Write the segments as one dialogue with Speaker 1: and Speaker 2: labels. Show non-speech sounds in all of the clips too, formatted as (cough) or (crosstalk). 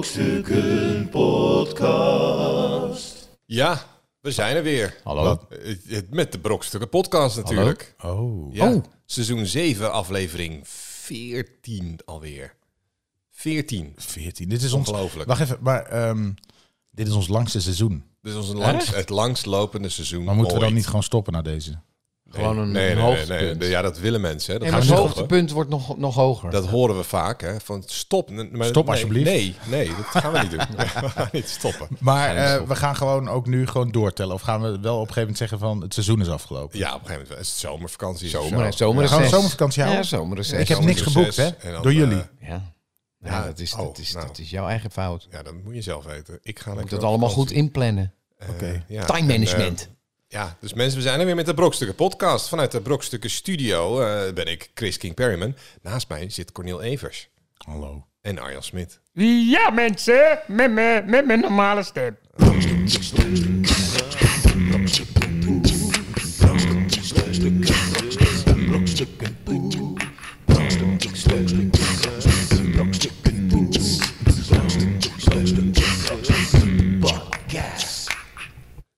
Speaker 1: Brokstukken Podcast.
Speaker 2: Ja, we zijn er weer.
Speaker 3: Hallo.
Speaker 2: Wat- eh, eh, Met de Brokstukken podcast natuurlijk.
Speaker 3: Oh.
Speaker 2: Ja. Seizoen 7, aflevering 14 alweer. 14.
Speaker 3: 14. Dit is ons...
Speaker 2: Ongelooflijk.
Speaker 3: Wacht even, maar ehm, dit is ons langste seizoen.
Speaker 2: Dit is ons langs, het langslopende seizoen
Speaker 3: Maar moeten we dan
Speaker 2: ooit.
Speaker 3: niet gewoon stoppen na deze?
Speaker 2: Nee,
Speaker 4: Gewoon een-
Speaker 2: nee, nee,
Speaker 4: een
Speaker 2: nee,
Speaker 4: hoogtepunt.
Speaker 2: nee, nee. Ja, dat willen mensen. Hè. Dat,
Speaker 4: Nee, maar
Speaker 3: we
Speaker 4: het
Speaker 3: niet
Speaker 4: hoogtepunt wordt nog, nog hoger.
Speaker 2: dat horen we vaak. Hè. Van stop. n- maar-
Speaker 3: Stop
Speaker 2: nee,
Speaker 3: alsjeblieft.
Speaker 2: Nee, nee, dat gaan we
Speaker 4: (laughs)
Speaker 2: niet doen. Nee, we gaan niet stoppen.
Speaker 3: Maar eh, we gaan gewoon ook nu gewoon doortellen. Of gaan we wel op een gegeven moment zeggen van het seizoen is afgelopen?
Speaker 2: Ja, op een gegeven moment wel. is het zomervakantie. dus of
Speaker 4: zomer,
Speaker 2: zo.
Speaker 4: hè, zomerreces.
Speaker 3: Gaan we zomervakantie houden?
Speaker 4: Ja, zomerreces.
Speaker 3: Ik heb
Speaker 2: zomer
Speaker 3: niks
Speaker 2: dus
Speaker 3: geboekt,
Speaker 2: zes
Speaker 3: hè?
Speaker 2: en dan,
Speaker 3: Door
Speaker 2: eh,
Speaker 3: jullie.
Speaker 4: Ja. Ja,
Speaker 2: Ja,
Speaker 4: dat, is,
Speaker 2: oh,
Speaker 4: dat, is,
Speaker 2: nou.
Speaker 4: dat is jouw eigen fout.
Speaker 2: Ja, dat moet je zelf weten. Ik ga
Speaker 4: Je moet dat allemaal goed inplannen.
Speaker 2: Eh,
Speaker 3: Oké.
Speaker 4: Time management.
Speaker 2: Ja, dus mensen, we zijn er weer met de Brokstukken podcast. Vanuit de Brokstukken studio eh, ben ik Chris King Perryman. Naast mij zit Cornel Evers
Speaker 3: Hallo.
Speaker 2: en Arjan Smit.
Speaker 5: Ja, mensen, met mijn met mijn normale stem.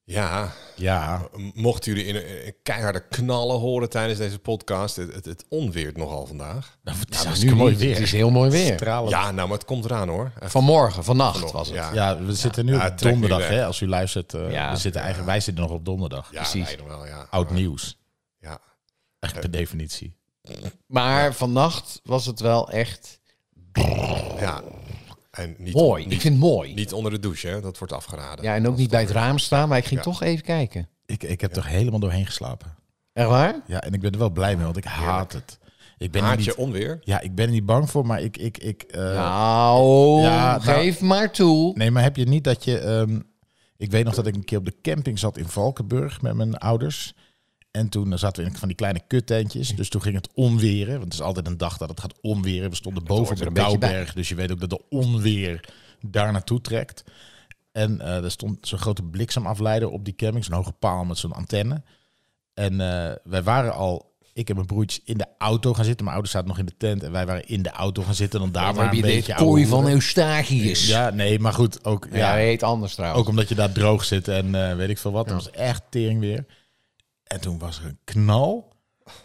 Speaker 2: Ja,
Speaker 3: Ja.
Speaker 2: m- mochten jullie in een, een keiharde knallen horen tijdens deze podcast, het, het, het onweert nogal vandaag.
Speaker 3: het
Speaker 4: Nou, nu niet. Het is heel mooi weer.
Speaker 3: Stralend. Ja.
Speaker 2: Ja, nou, maar het komt eraan hoor. Echt,
Speaker 4: Vanmorgen, vannacht was het.
Speaker 2: ja,
Speaker 3: we zitten nu
Speaker 2: Ja,
Speaker 3: op
Speaker 2: het trekt
Speaker 3: donderdag,
Speaker 2: nu weg.
Speaker 3: hè? Als u luistert, eh,
Speaker 4: Ja.
Speaker 3: we zitten eigenlijk, wij zitten nog op donderdag.
Speaker 2: ja,
Speaker 4: precies.
Speaker 2: wij nog wel, ja.
Speaker 3: Oud nieuws,
Speaker 2: Ja.
Speaker 3: echt per definitie.
Speaker 4: Maar vannacht was het wel echt
Speaker 2: ja. En niet,
Speaker 4: mooi.
Speaker 2: Niet,
Speaker 4: ik vind het mooi.
Speaker 2: niet onder de douche, hè. dat wordt afgeraden.
Speaker 4: ja, en ook niet bij het raam staan, maar ik ging toch even kijken. Eh,
Speaker 3: Ik, ik heb er helemaal doorheen geslapen.
Speaker 4: Echt waar?
Speaker 3: Ja, en ik ben er wel blij mee, want ik haat het. Ik ben er
Speaker 2: Haat
Speaker 3: niet,
Speaker 2: je onweer?
Speaker 3: ja, ik ben er niet bang voor, maar ik... ik, ik eh,
Speaker 4: nou,
Speaker 3: ja, nou-
Speaker 4: geef maar toe.
Speaker 3: Nee, maar heb je niet dat je... ehm, ik weet nog dat ik een keer op de camping zat in Valkenburg met mijn ouders. En toen eh, zaten we in van die kleine kuttentjes. Dus toen ging het onweren. Want het is altijd een dag dat het gaat onweren. We stonden boven
Speaker 4: hoort er
Speaker 3: op de
Speaker 4: een beetje bij.
Speaker 3: Douwberg. Dus je weet ook dat de onweer daar naartoe trekt. En eh, er stond zo'n grote bliksemafleider op die camping. Zo'n hoge paal met zo'n antenne. En eh, wij waren al... Ik en mijn broertjes in de auto gaan zitten. Mijn ouders zaten nog in de tent. En wij waren in de auto gaan zitten. Dan daar
Speaker 4: Daar
Speaker 3: maar
Speaker 4: heb
Speaker 3: een
Speaker 4: je
Speaker 3: beetje
Speaker 4: de kooi
Speaker 3: ouwe
Speaker 4: van
Speaker 3: hoeren.
Speaker 4: Eustachius. Ja,
Speaker 3: Ja, nee, maar goed. Ook,
Speaker 4: ja.
Speaker 3: ja,
Speaker 4: hij heet anders trouwens.
Speaker 3: ook omdat je daar droog zit en eh, weet ik veel wat. Dat was echt tering weer. En toen was er een knal.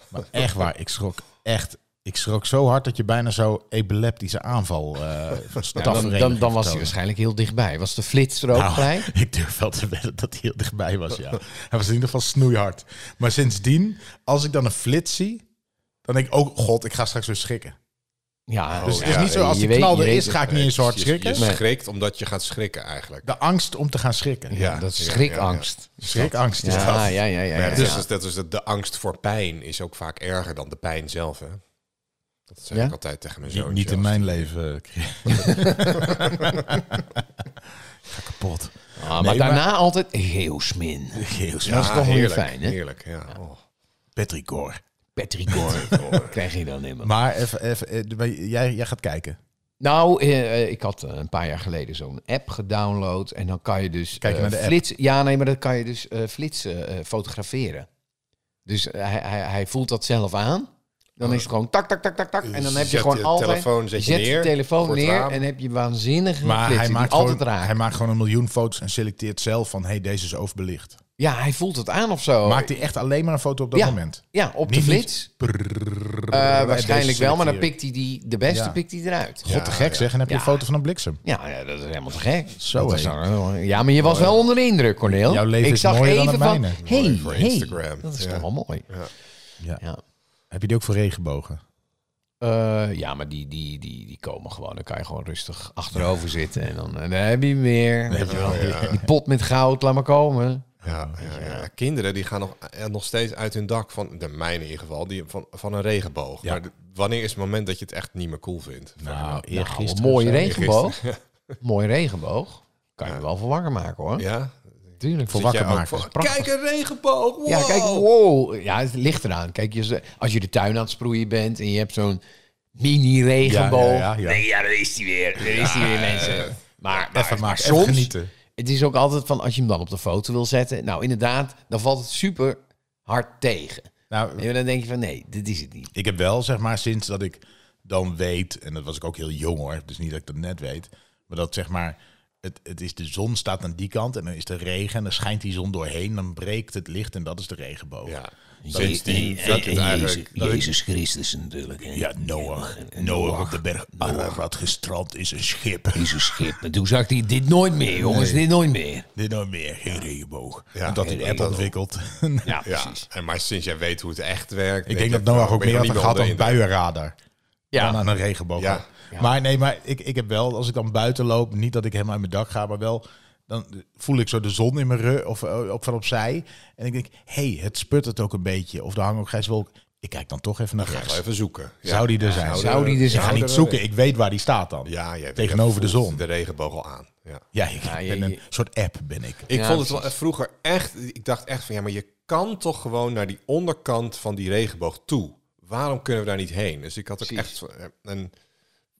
Speaker 3: Maar echt waar, ik schrok echt. Ik schrok zo hard dat je bijna zo epileptische aanval eh van
Speaker 4: (laughs) Ja, dan, dan, dan was hij
Speaker 3: waarschijnlijk.
Speaker 4: waarschijnlijk heel dichtbij. Was de flits er ook bij?
Speaker 3: Nou, (laughs) ik durf wel te wedden dat hij heel dichtbij was, ja. Hij was in ieder geval snoeihard. Maar sindsdien, als ik dan een flits zie, dan denk ik ook, god, ik ga straks weer schrikken.
Speaker 4: Oh Ja,
Speaker 3: Dus het is
Speaker 2: ja,
Speaker 3: niet zo, als
Speaker 4: je
Speaker 3: die
Speaker 4: weet-
Speaker 3: knal
Speaker 4: je
Speaker 3: er
Speaker 4: weet
Speaker 3: is,
Speaker 4: het.
Speaker 3: ga ik niet eens zo hard
Speaker 2: Je-
Speaker 3: schrikken.
Speaker 2: Je, schrikt omdat je gaat schrikken eigenlijk.
Speaker 3: De angst om te gaan schrikken.
Speaker 2: Ja,
Speaker 4: dat is
Speaker 2: ja,
Speaker 4: schrikangst.
Speaker 3: Schrikangst is dat.
Speaker 4: Ja, ja, ja. ja,
Speaker 2: Maar
Speaker 4: ja.
Speaker 2: ja, dus, dat is de, de angst voor pijn is ook vaak erger dan de pijn zelf, hè? Dat zeg
Speaker 4: Ja?
Speaker 2: ik altijd tegen mijn
Speaker 3: Niet-
Speaker 2: zoon.
Speaker 3: niet in mijn leven. Chris. (laughs) Ga kapot.
Speaker 4: Ah, maar
Speaker 3: Nee, maar-
Speaker 4: daarna altijd geosmin.
Speaker 3: Heel
Speaker 4: dat is toch wel weer
Speaker 2: Ah, heerlijk,
Speaker 4: fijn, hè?
Speaker 2: Heerlijk, ja. Oh.
Speaker 3: Petricor.
Speaker 4: Patrick Gore krijg je dan helemaal.
Speaker 3: Maar even, even, eh, maar jij, jij gaat kijken.
Speaker 4: Nou, eh, eh, ik had eh, een paar jaar geleden zo'n app gedownload. En dan kan je dus...
Speaker 3: Kijk
Speaker 4: eh,
Speaker 3: naar de app.
Speaker 4: flits, Ja, nee, maar dan kan je dus eh, flitsen eh, fotograferen. Dus eh, hij, hij, hij voelt dat zelf aan. Dan is het gewoon tak, tak, tak, tak, tak. En dan heb je
Speaker 2: Zet
Speaker 4: gewoon
Speaker 2: je
Speaker 4: altijd...
Speaker 2: telefoon, zet je neer
Speaker 4: telefoon
Speaker 2: voor het
Speaker 4: neer
Speaker 2: raam.
Speaker 4: en heb je waanzinnige
Speaker 3: Maar
Speaker 4: flitsen
Speaker 3: hij maakt,
Speaker 4: die altijd
Speaker 3: gewoon,
Speaker 4: raken.
Speaker 3: hij maakt gewoon een miljoen foto's en selecteert zelf van... hey, deze is overbelicht.
Speaker 4: Ja, hij voelt het aan of zo.
Speaker 3: Maakt hij echt alleen maar een foto op dat
Speaker 4: Oh. ja,
Speaker 3: moment?
Speaker 4: Ja, op de
Speaker 3: Niet-
Speaker 4: flits.
Speaker 3: niet-
Speaker 4: Eh,
Speaker 3: en deze
Speaker 4: waarschijnlijk wel, maar dan
Speaker 3: selecteer.
Speaker 4: pikt hij die, de beste
Speaker 3: Ja.
Speaker 4: pikt hij eruit.
Speaker 3: God, te gek zeg. En heb je
Speaker 4: Ja.
Speaker 3: een foto van een bliksem?
Speaker 4: Ja, ja, dat is helemaal te gek.
Speaker 3: Zo,
Speaker 4: Dat is
Speaker 3: hé.
Speaker 4: dan- ja, maar je was wel onder de indruk, Corneel.
Speaker 3: Jouw leven
Speaker 4: ik
Speaker 3: is
Speaker 4: zag
Speaker 3: mooier dan
Speaker 4: even
Speaker 3: het
Speaker 4: van,
Speaker 3: mijne.
Speaker 4: hey,
Speaker 2: Mooi voor
Speaker 4: hey,
Speaker 2: Instagram.
Speaker 4: Dat is
Speaker 2: Ja.
Speaker 4: toch wel mooi.
Speaker 3: Ja.
Speaker 4: Ja.
Speaker 3: Heb je die ook voor regenbogen?
Speaker 4: Eh, ja, maar die, die, die, die komen gewoon. Dan kan je gewoon rustig achterover zitten. En dan, en dan heb je hem weer. Weet je
Speaker 2: Oh,
Speaker 4: wel. Die pot met goud, laat maar komen.
Speaker 2: Ja,
Speaker 3: Oh,
Speaker 2: ja, ja. Kinderen die gaan nog, eh, nog steeds uit hun dak van, de mijne in ieder geval, die, van, van een regenboog. Maar de- wanneer is het moment dat je het echt niet meer cool vindt?
Speaker 3: Nou,
Speaker 4: Nou,
Speaker 3: eergisteren.
Speaker 4: een mooie
Speaker 3: of zo.
Speaker 4: regenboog. Mooie regenboog. Kan je me wel voor wakker maken, hoor.
Speaker 2: Ja?
Speaker 4: Tuurlijk.
Speaker 3: Voor
Speaker 4: Zit
Speaker 3: wakker
Speaker 2: Jij ook
Speaker 3: maken.
Speaker 2: van,
Speaker 3: is prachtig.
Speaker 2: kijk, een regenboog! Wow.
Speaker 4: Ja, kijk, wow. Ja, het ligt eraan. Kijk, je, als je de tuin aan het sproeien bent en je hebt zo'n mini-regenboog.
Speaker 3: Ja, ja,
Speaker 4: Ja,
Speaker 3: ja, ja.
Speaker 4: Nee, ja, daar is die weer. Daar is die weer, mensen. Maar, maar,
Speaker 3: Even
Speaker 4: maar
Speaker 3: maken, even
Speaker 4: soms,
Speaker 3: genieten.
Speaker 4: het is ook altijd van, als je hem dan op de foto wil zetten. Nou, inderdaad, dan valt het super hard tegen.
Speaker 3: Nou,
Speaker 4: En dan denk je van, nee, dit is het niet.
Speaker 3: Ik heb wel, zeg maar, sinds dat ik dan weet, en dat was ik ook heel jong hoor, dus niet dat ik dat net weet, Maar dat zeg maar, het, het is de zon staat aan die kant en dan is de regen en dan schijnt die zon doorheen, dan breekt het licht en dat is de regenboog.
Speaker 2: Ja.
Speaker 3: Sinds die-
Speaker 2: dat het eigenlijk- dat ik-
Speaker 1: Christus natuurlijk. hè.
Speaker 3: Ja, Noah. Noah op de berg Ararat gestrand is een schip.
Speaker 1: Is een schip. Maar toen zag hij dit nooit meer, jongens. Dit nooit meer.
Speaker 3: Dit nou meer, geen regenboog.
Speaker 2: Ja,
Speaker 3: en dat die
Speaker 2: geen
Speaker 3: app
Speaker 2: regenboog.
Speaker 3: ontwikkelt.
Speaker 1: Ja,
Speaker 2: Ja, en maar sinds jij weet hoe het echt werkt...
Speaker 3: ik denk dat Noah ook meer had gehad aan buienradar.
Speaker 4: Ja.
Speaker 3: Dan aan een regenboog.
Speaker 2: Ja.
Speaker 3: Maar nee, maar ik, ik heb wel, als ik dan buiten loop, niet dat ik helemaal uit mijn dak ga, maar wel, dan voel ik zo de zon in mijn rug of, eh, op van opzij. En ik denk, hé, hey, het sputtert ook een beetje. Of de hang ook wolk. Ik kijk dan toch even naar
Speaker 2: Ga
Speaker 3: rechts.
Speaker 2: even zoeken. Ja.
Speaker 3: Zou die er zijn?
Speaker 4: zou die er
Speaker 3: Ik ga
Speaker 4: zijn?
Speaker 3: niet zoeken, ik weet waar die staat dan.
Speaker 2: Ja, jij weet-
Speaker 3: Tegenover de
Speaker 2: voelt
Speaker 3: zon.
Speaker 2: De regenboog al aan. Ja.
Speaker 3: Ja, ik
Speaker 4: Ja, je-
Speaker 3: ben een
Speaker 4: je-
Speaker 3: soort app, ben ik.
Speaker 2: Ik
Speaker 4: Ja,
Speaker 2: vond het wel, vroeger echt, ik dacht echt van ja, maar je kan toch gewoon naar die onderkant van die regenboog toe. Waarom kunnen we daar niet heen? Dus ik had ook
Speaker 4: Precies.
Speaker 2: echt zo- een,
Speaker 4: Een
Speaker 2: ik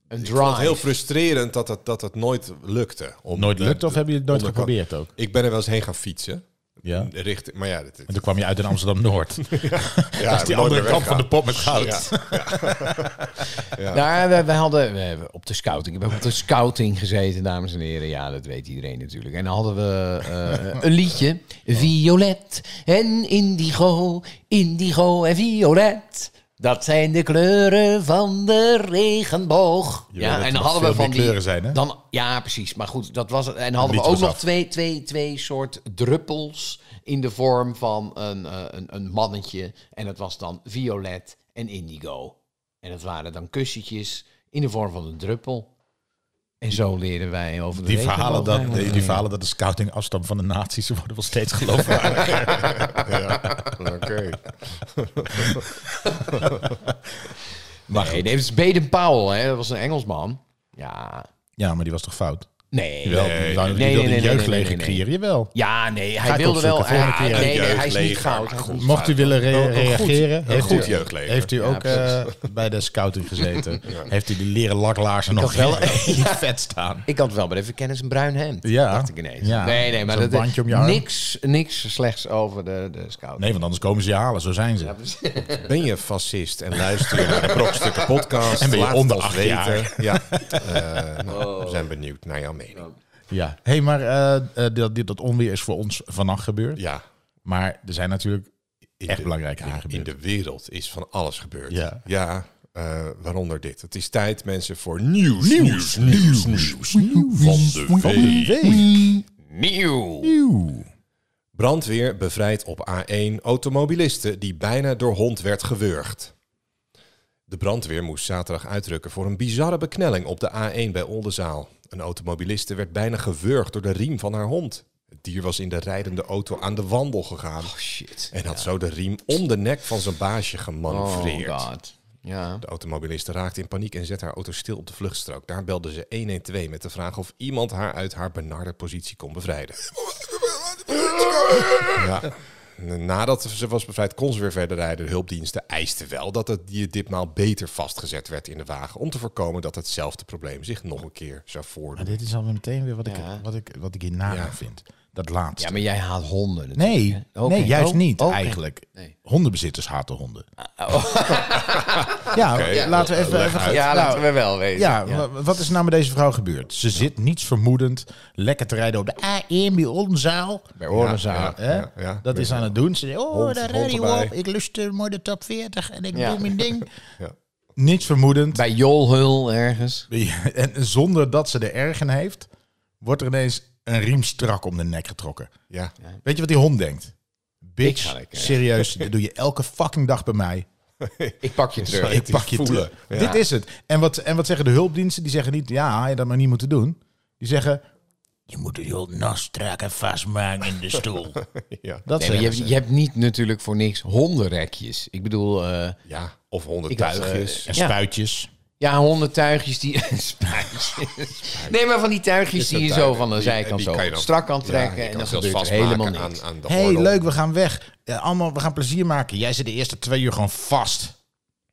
Speaker 2: vond het
Speaker 4: drive.
Speaker 2: heel frustrerend dat het, dat het nooit lukte. Om
Speaker 3: Nooit
Speaker 2: de-
Speaker 3: lukt of
Speaker 2: de
Speaker 3: heb je het nooit
Speaker 2: onderkant-
Speaker 3: geprobeerd ook?
Speaker 2: Ik ben er wel eens heen gaan fietsen.
Speaker 3: Ja. En
Speaker 2: Richting, maar ja, dit, dit-
Speaker 3: (laughs) toen kwam je uit in Amsterdam-Noord.
Speaker 2: ja,
Speaker 3: Dat is die andere kant van de pot met goud.
Speaker 4: (laughs) Nou, we, we hadden we hebben op de scouting. Ik heb op de scouting gezeten, dames en heren. Ja, dat weet iedereen natuurlijk. En dan hadden we eh, een liedje. Violet en indigo, indigo en violet. Dat zijn de kleuren van de regenboog.
Speaker 3: weet dat
Speaker 4: Ja, en
Speaker 3: er
Speaker 4: dan
Speaker 3: nog
Speaker 4: hadden
Speaker 3: veel
Speaker 4: we van
Speaker 3: meer
Speaker 4: die
Speaker 3: kleuren zijn, hè?
Speaker 4: Dan, ja, precies. Maar goed, dat was het. En hadden we
Speaker 3: lied
Speaker 4: ook
Speaker 3: was
Speaker 4: nog
Speaker 3: af.
Speaker 4: twee, twee, twee soort druppels in de vorm van een, eh, een, een mannetje. En dat was dan violet en indigo. En dat waren dan kussentjes in de vorm van een druppel. En zo leren wij over de
Speaker 3: Die verhalen,
Speaker 4: regenboog
Speaker 3: dat, die,
Speaker 4: eigenlijk.
Speaker 3: die verhalen dat de scouting afstamt van de nazi's, ze worden wel
Speaker 4: (laughs)
Speaker 3: steeds geloofwaardig.
Speaker 2: Oké.
Speaker 4: Nee, nee, dat is Baden Powell, hè. dat was een Engelsman. Ja,
Speaker 3: ja, maar die was toch fout?
Speaker 4: nee.
Speaker 3: Jawel,
Speaker 2: nee,
Speaker 3: die wou- die
Speaker 4: nee,
Speaker 3: wilde
Speaker 4: nee,
Speaker 3: een
Speaker 4: nee,
Speaker 3: jeugdleger
Speaker 4: nee, nee, nee.
Speaker 3: creëren, jawel.
Speaker 4: Ja, nee, hij
Speaker 3: ik
Speaker 4: wilde wel.
Speaker 3: opzoeken, volgende
Speaker 4: hij-
Speaker 3: keer.
Speaker 4: nee, nee, hij is niet
Speaker 2: Jeugdleger,
Speaker 4: goud.
Speaker 2: maar
Speaker 4: Hij is niet
Speaker 3: Mocht u willen re-
Speaker 2: Een- een goed-
Speaker 3: reageren,
Speaker 2: een
Speaker 3: heeft,
Speaker 2: goed
Speaker 3: u,
Speaker 2: jeugdleger.
Speaker 3: heeft u
Speaker 4: Ja,
Speaker 3: ook eh, bij de scouting gezeten?
Speaker 4: (laughs)
Speaker 3: Heeft u die leren laklaarzen nog
Speaker 4: had wel-
Speaker 3: in
Speaker 4: (laughs)
Speaker 3: je (laughs) vet staan?
Speaker 4: Ik had wel maar even kennis een bruin hemd.
Speaker 3: Ja.
Speaker 4: Dacht ik ineens.
Speaker 3: Ja.
Speaker 4: Nee, nee, maar
Speaker 3: Zo'n
Speaker 4: dat
Speaker 3: bandje om je arm.
Speaker 4: Niks, niks slechts over de, de scout.
Speaker 3: Nee, want anders komen ze je halen, zo zijn ze.
Speaker 2: Ben je fascist en luister je naar de Brokstukken podcast?
Speaker 3: En ben je
Speaker 2: Laat het
Speaker 3: onder
Speaker 2: ons
Speaker 3: acht
Speaker 2: weten.
Speaker 3: jaar?
Speaker 2: Ja.
Speaker 4: (laughs)
Speaker 2: Eh, nou, We
Speaker 4: Oh.
Speaker 2: zijn benieuwd naar jouw mening.
Speaker 3: Ja. hey, maar eh, eh, dat, dat onweer is voor ons vannacht gebeurd.
Speaker 2: Ja.
Speaker 3: Maar er zijn natuurlijk
Speaker 2: In
Speaker 3: echt
Speaker 2: de-
Speaker 3: belangrijke dingen
Speaker 2: In
Speaker 3: gebeurd.
Speaker 2: de wereld is van alles gebeurd.
Speaker 3: Ja.
Speaker 2: ja eh, waaronder dit. Het is tijd, mensen, voor nieuws. Nieuws, nieuws, nieuws, van de week.
Speaker 4: Nieuw.
Speaker 2: Brandweer bevrijdt op A1 automobilisten die bijna door hond werd gewurgd. De brandweer moest zaterdag uitrukken voor een bizarre beknelling op de A1 bij Oldenzaal. Een automobiliste werd bijna gewurgd door de riem van haar hond. Het dier was in de rijdende auto aan de wandel gegaan
Speaker 4: Shit.
Speaker 2: en had zo de riem om de nek van zijn baasje gemanoeuvreerd.
Speaker 4: Oh god. Ja.
Speaker 2: De automobiliste raakte in paniek en zette haar auto stil op de vluchtstrook. Daar belde ze 112 met de vraag of iemand haar uit haar benarde positie kon bevrijden. Ja. Nadat ze was bevrijd, kon ze weer verder rijden. De hulpdiensten eisten wel dat het dier ditmaal beter vastgezet werd in de wagen. Om te voorkomen dat hetzelfde probleem zich nog een keer zou
Speaker 3: Maar
Speaker 4: Ah,
Speaker 2: voordoen.
Speaker 3: dit is alweer meteen weer wat ik,
Speaker 4: Ja.
Speaker 3: wat ik, wat ik hierna
Speaker 2: Ja.
Speaker 3: vind. Dat laatste.
Speaker 4: ja, maar jij haat honden. natuurlijk,
Speaker 3: Nee,
Speaker 4: hè? Oké.
Speaker 3: nee juist
Speaker 4: Oh,
Speaker 3: niet
Speaker 4: oké.
Speaker 3: eigenlijk.
Speaker 4: Nee.
Speaker 3: Hondenbezitters haten honden. (laughs) ja,
Speaker 2: Oké, eh,
Speaker 3: laten we even...
Speaker 2: leg
Speaker 3: even
Speaker 2: uit.
Speaker 4: Ja,
Speaker 3: nou,
Speaker 4: laten we wel weten.
Speaker 3: ja, wa- wat is nou met deze vrouw gebeurd? Ze zit niets vermoedend, lekker te rijden op de Ah, A1 bij Oldenzaal.
Speaker 4: Bij Ordenzaal.
Speaker 2: Ja,
Speaker 3: Hè?
Speaker 2: ja, ja.
Speaker 3: dat is aan het doen. Ze zegt, oh,
Speaker 2: Hond-
Speaker 3: daar
Speaker 2: hond
Speaker 3: rij je
Speaker 2: erbij.
Speaker 3: op. Ik lust eh, mooi de top 40 en ik
Speaker 4: Ja.
Speaker 3: doe mijn ding.
Speaker 2: (laughs) Ja.
Speaker 3: Niets vermoedend.
Speaker 4: Bij Jolhul ergens.
Speaker 3: (laughs) En zonder dat ze er erg in heeft, wordt er ineens een riem strak om de nek getrokken.
Speaker 2: Ja.
Speaker 3: Weet je wat die hond denkt?
Speaker 4: Ik ga
Speaker 3: Bitch,
Speaker 4: lekker.
Speaker 3: serieus, (laughs) dit doe je elke fucking dag bij mij.
Speaker 4: Ik pak je terug.
Speaker 3: Ik pak je
Speaker 2: voelen.
Speaker 3: terug. Dit is het. En wat, en wat zeggen de hulpdiensten? Die zeggen niet, ja, had je dat maar niet moeten doen. Die zeggen, je moet die hond nog strak en vastmaken in de
Speaker 4: (laughs)
Speaker 3: stoel.
Speaker 2: (laughs) Ja.
Speaker 3: Dat
Speaker 4: Nee, maar
Speaker 3: zeggen
Speaker 4: je, hebt,
Speaker 3: ze.
Speaker 4: je hebt niet natuurlijk voor niks hondenrekjes. Ik bedoel, eh,
Speaker 2: ja, of honderd
Speaker 4: Ik dacht, eh,
Speaker 2: tuigjes.
Speaker 3: En
Speaker 4: ja.
Speaker 3: spuitjes.
Speaker 4: ja, hondentuigjes die... (laughs) Spuitjes. Nee, maar van die tuigjes die je zo van de zijkant zo strak kan trekken. en dan gebeurt er helemaal niks.
Speaker 2: Aan, aan de
Speaker 3: hey,
Speaker 2: gordel.
Speaker 3: leuk, we gaan weg. Eh, allemaal, we gaan plezier maken. Jij zit de eerste twee uur gewoon vast.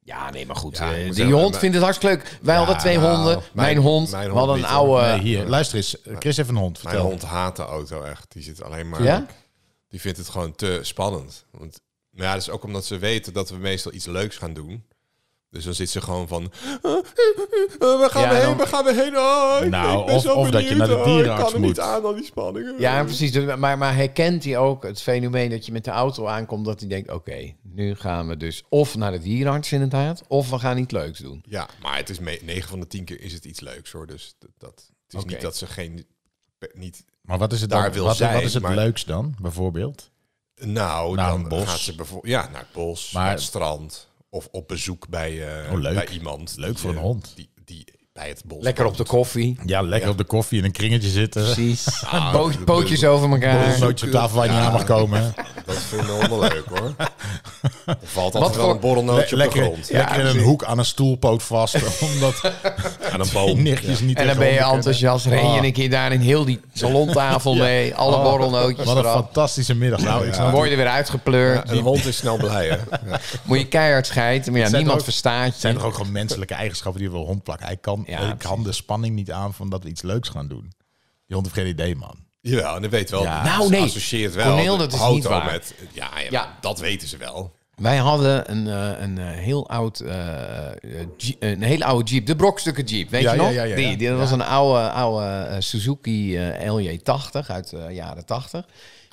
Speaker 4: Ja, nee, maar goed.
Speaker 2: Ja,
Speaker 4: eh,
Speaker 2: ik moet
Speaker 4: die
Speaker 2: zeggen,
Speaker 4: hond
Speaker 2: maar-
Speaker 4: vindt het hartstikke leuk. Wij hadden twee
Speaker 2: nou,
Speaker 4: honden.
Speaker 2: mijn-
Speaker 4: Mijn, hond,
Speaker 2: mijn
Speaker 4: we
Speaker 2: hond
Speaker 4: hadden een
Speaker 2: niet, hoor.
Speaker 4: oude...
Speaker 3: Nee, Eh, hier, luister eens. Chris heeft een hond,
Speaker 2: Mijn
Speaker 3: vertel.
Speaker 2: hond haat de auto echt. Die zit alleen maar...
Speaker 4: Ja?
Speaker 2: Die vindt het dus gewoon te spannend. Want, nou ja, dat is ook omdat ze weten dat we meestal iets leuks gaan doen. Dus dan zit ze gewoon van... eh, eh, eh, we gaan
Speaker 4: Ja,
Speaker 2: we heen,
Speaker 4: dan-
Speaker 2: we gaan we heen. Oh, ik-
Speaker 3: Nou,
Speaker 2: ik ben
Speaker 3: of-
Speaker 2: zo
Speaker 3: of dat je
Speaker 2: benieuwd.
Speaker 3: naar de
Speaker 2: Oh, Ik
Speaker 3: dierenarts
Speaker 2: kan er niet
Speaker 3: moet.
Speaker 2: aan, aan die spanning.
Speaker 4: Ja, precies. Dus- Maar, maar herkent hij ook het fenomeen dat je met de auto aankomt... dat hij denkt, oké, nu gaan we dus of naar de dierenarts inderdaad... of we gaan iets leuks doen.
Speaker 2: Ja, maar het is 9 van de 10 keer is het iets leuks hoor. Dus dat, dat, het is
Speaker 4: Oké.
Speaker 2: niet dat ze geen... pe- Niet,
Speaker 3: Maar wat is het,
Speaker 2: Daar
Speaker 3: dan-
Speaker 2: wil
Speaker 3: wat,
Speaker 2: zij,
Speaker 3: wat is het
Speaker 2: maar-
Speaker 3: leukst dan, bijvoorbeeld?
Speaker 2: nou,
Speaker 3: Naar
Speaker 2: dan
Speaker 3: een bos.
Speaker 2: gaat ze bijvoorbeeld... Ja, naar het bos,
Speaker 3: Maar-
Speaker 2: naar het strand. Of op bezoek bij, eh,
Speaker 3: Oh, leuk.
Speaker 2: bij iemand.
Speaker 3: Leuk
Speaker 2: die,
Speaker 3: voor een
Speaker 2: eh,
Speaker 3: hond.
Speaker 2: Die, die bij het bos
Speaker 4: Lekker op de koffie.
Speaker 3: Ja, lekker op de koffie in een kringetje zitten.
Speaker 4: Precies.
Speaker 2: (laughs) Ah,
Speaker 4: Poot-
Speaker 2: dat-
Speaker 4: pootjes
Speaker 2: dat-
Speaker 4: over elkaar.
Speaker 3: Een nootje op tafel waar je niet aan mag
Speaker 2: (laughs)
Speaker 3: komen.
Speaker 2: Dat vinden we allemaal leuk
Speaker 3: (laughs)
Speaker 2: hoor. Er valt altijd
Speaker 4: Wat
Speaker 2: wel
Speaker 4: voor-
Speaker 2: een borrelnootje op de
Speaker 3: lekker,
Speaker 2: grond.
Speaker 3: lekker in een hoek aan een stoelpoot vast. (laughs) Omdat
Speaker 2: (laughs) Aan een
Speaker 3: die
Speaker 2: boom.
Speaker 3: nichtjes niet
Speaker 4: En dan
Speaker 3: tegen
Speaker 4: ben
Speaker 3: honden
Speaker 4: je
Speaker 3: kunnen.
Speaker 4: enthousiast. Ren je
Speaker 3: Ah.
Speaker 4: een keer daar in heel die
Speaker 2: (laughs)
Speaker 4: salontafel mee. Alle
Speaker 2: Ah,
Speaker 4: borrelnootjes
Speaker 3: Wat een
Speaker 4: eraf.
Speaker 3: fantastische middag. Nou, ik
Speaker 4: Dan
Speaker 3: snap
Speaker 4: word je er weer uitgepleurd.
Speaker 2: Een hond is snel blij hè. Ja.
Speaker 4: Moet je keihard scheiden. Maar ja,
Speaker 3: zijn
Speaker 4: niemand
Speaker 3: toch ook-
Speaker 4: verstaat
Speaker 3: Het
Speaker 4: je.
Speaker 3: zijn toch ook gewoon menselijke eigenschappen die je wil hondplakken. Hij kan,
Speaker 4: Ja,
Speaker 3: hij kan de spanning niet aan van dat we iets leuks gaan doen. Die hond heeft geen idee, man.
Speaker 2: Jawel, en dat weet wel.
Speaker 3: Ja.
Speaker 2: Nou
Speaker 4: Nou,
Speaker 2: nee.
Speaker 4: nee.
Speaker 2: associeert wel
Speaker 4: Cornel,
Speaker 2: de
Speaker 4: dat is
Speaker 2: auto
Speaker 4: niet waar.
Speaker 2: met... Ja, ja,
Speaker 4: Ja.
Speaker 2: dat weten ze wel.
Speaker 4: Wij hadden een, eh, een eh, heel oud, eh, eh, Jeep- een hele oude Jeep, de brokstukken Jeep, weet
Speaker 3: Ja,
Speaker 4: je
Speaker 3: ja,
Speaker 4: nog?
Speaker 3: ja, ja, ja.
Speaker 4: Die, die, dat was een oude, oude eh, Suzuki eh, LJ80 uit de jaren 80.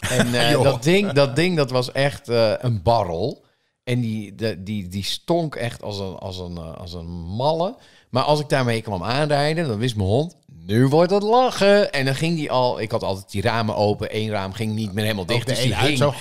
Speaker 4: En
Speaker 3: (laughs)
Speaker 4: eh, dat, ding, dat ding, dat was echt eh, een barrel. En die, de, die, die stonk echt als een, als, een, eh, als een malle. Maar als ik daarmee kwam aanrijden, dan wist mijn hond, nu wordt het lachen. En dan ging die al, ik had altijd die ramen open, één raam ging niet meer helemaal dicht.
Speaker 3: de
Speaker 4: dus
Speaker 3: een
Speaker 4: die
Speaker 3: uit
Speaker 4: hing.
Speaker 3: zo.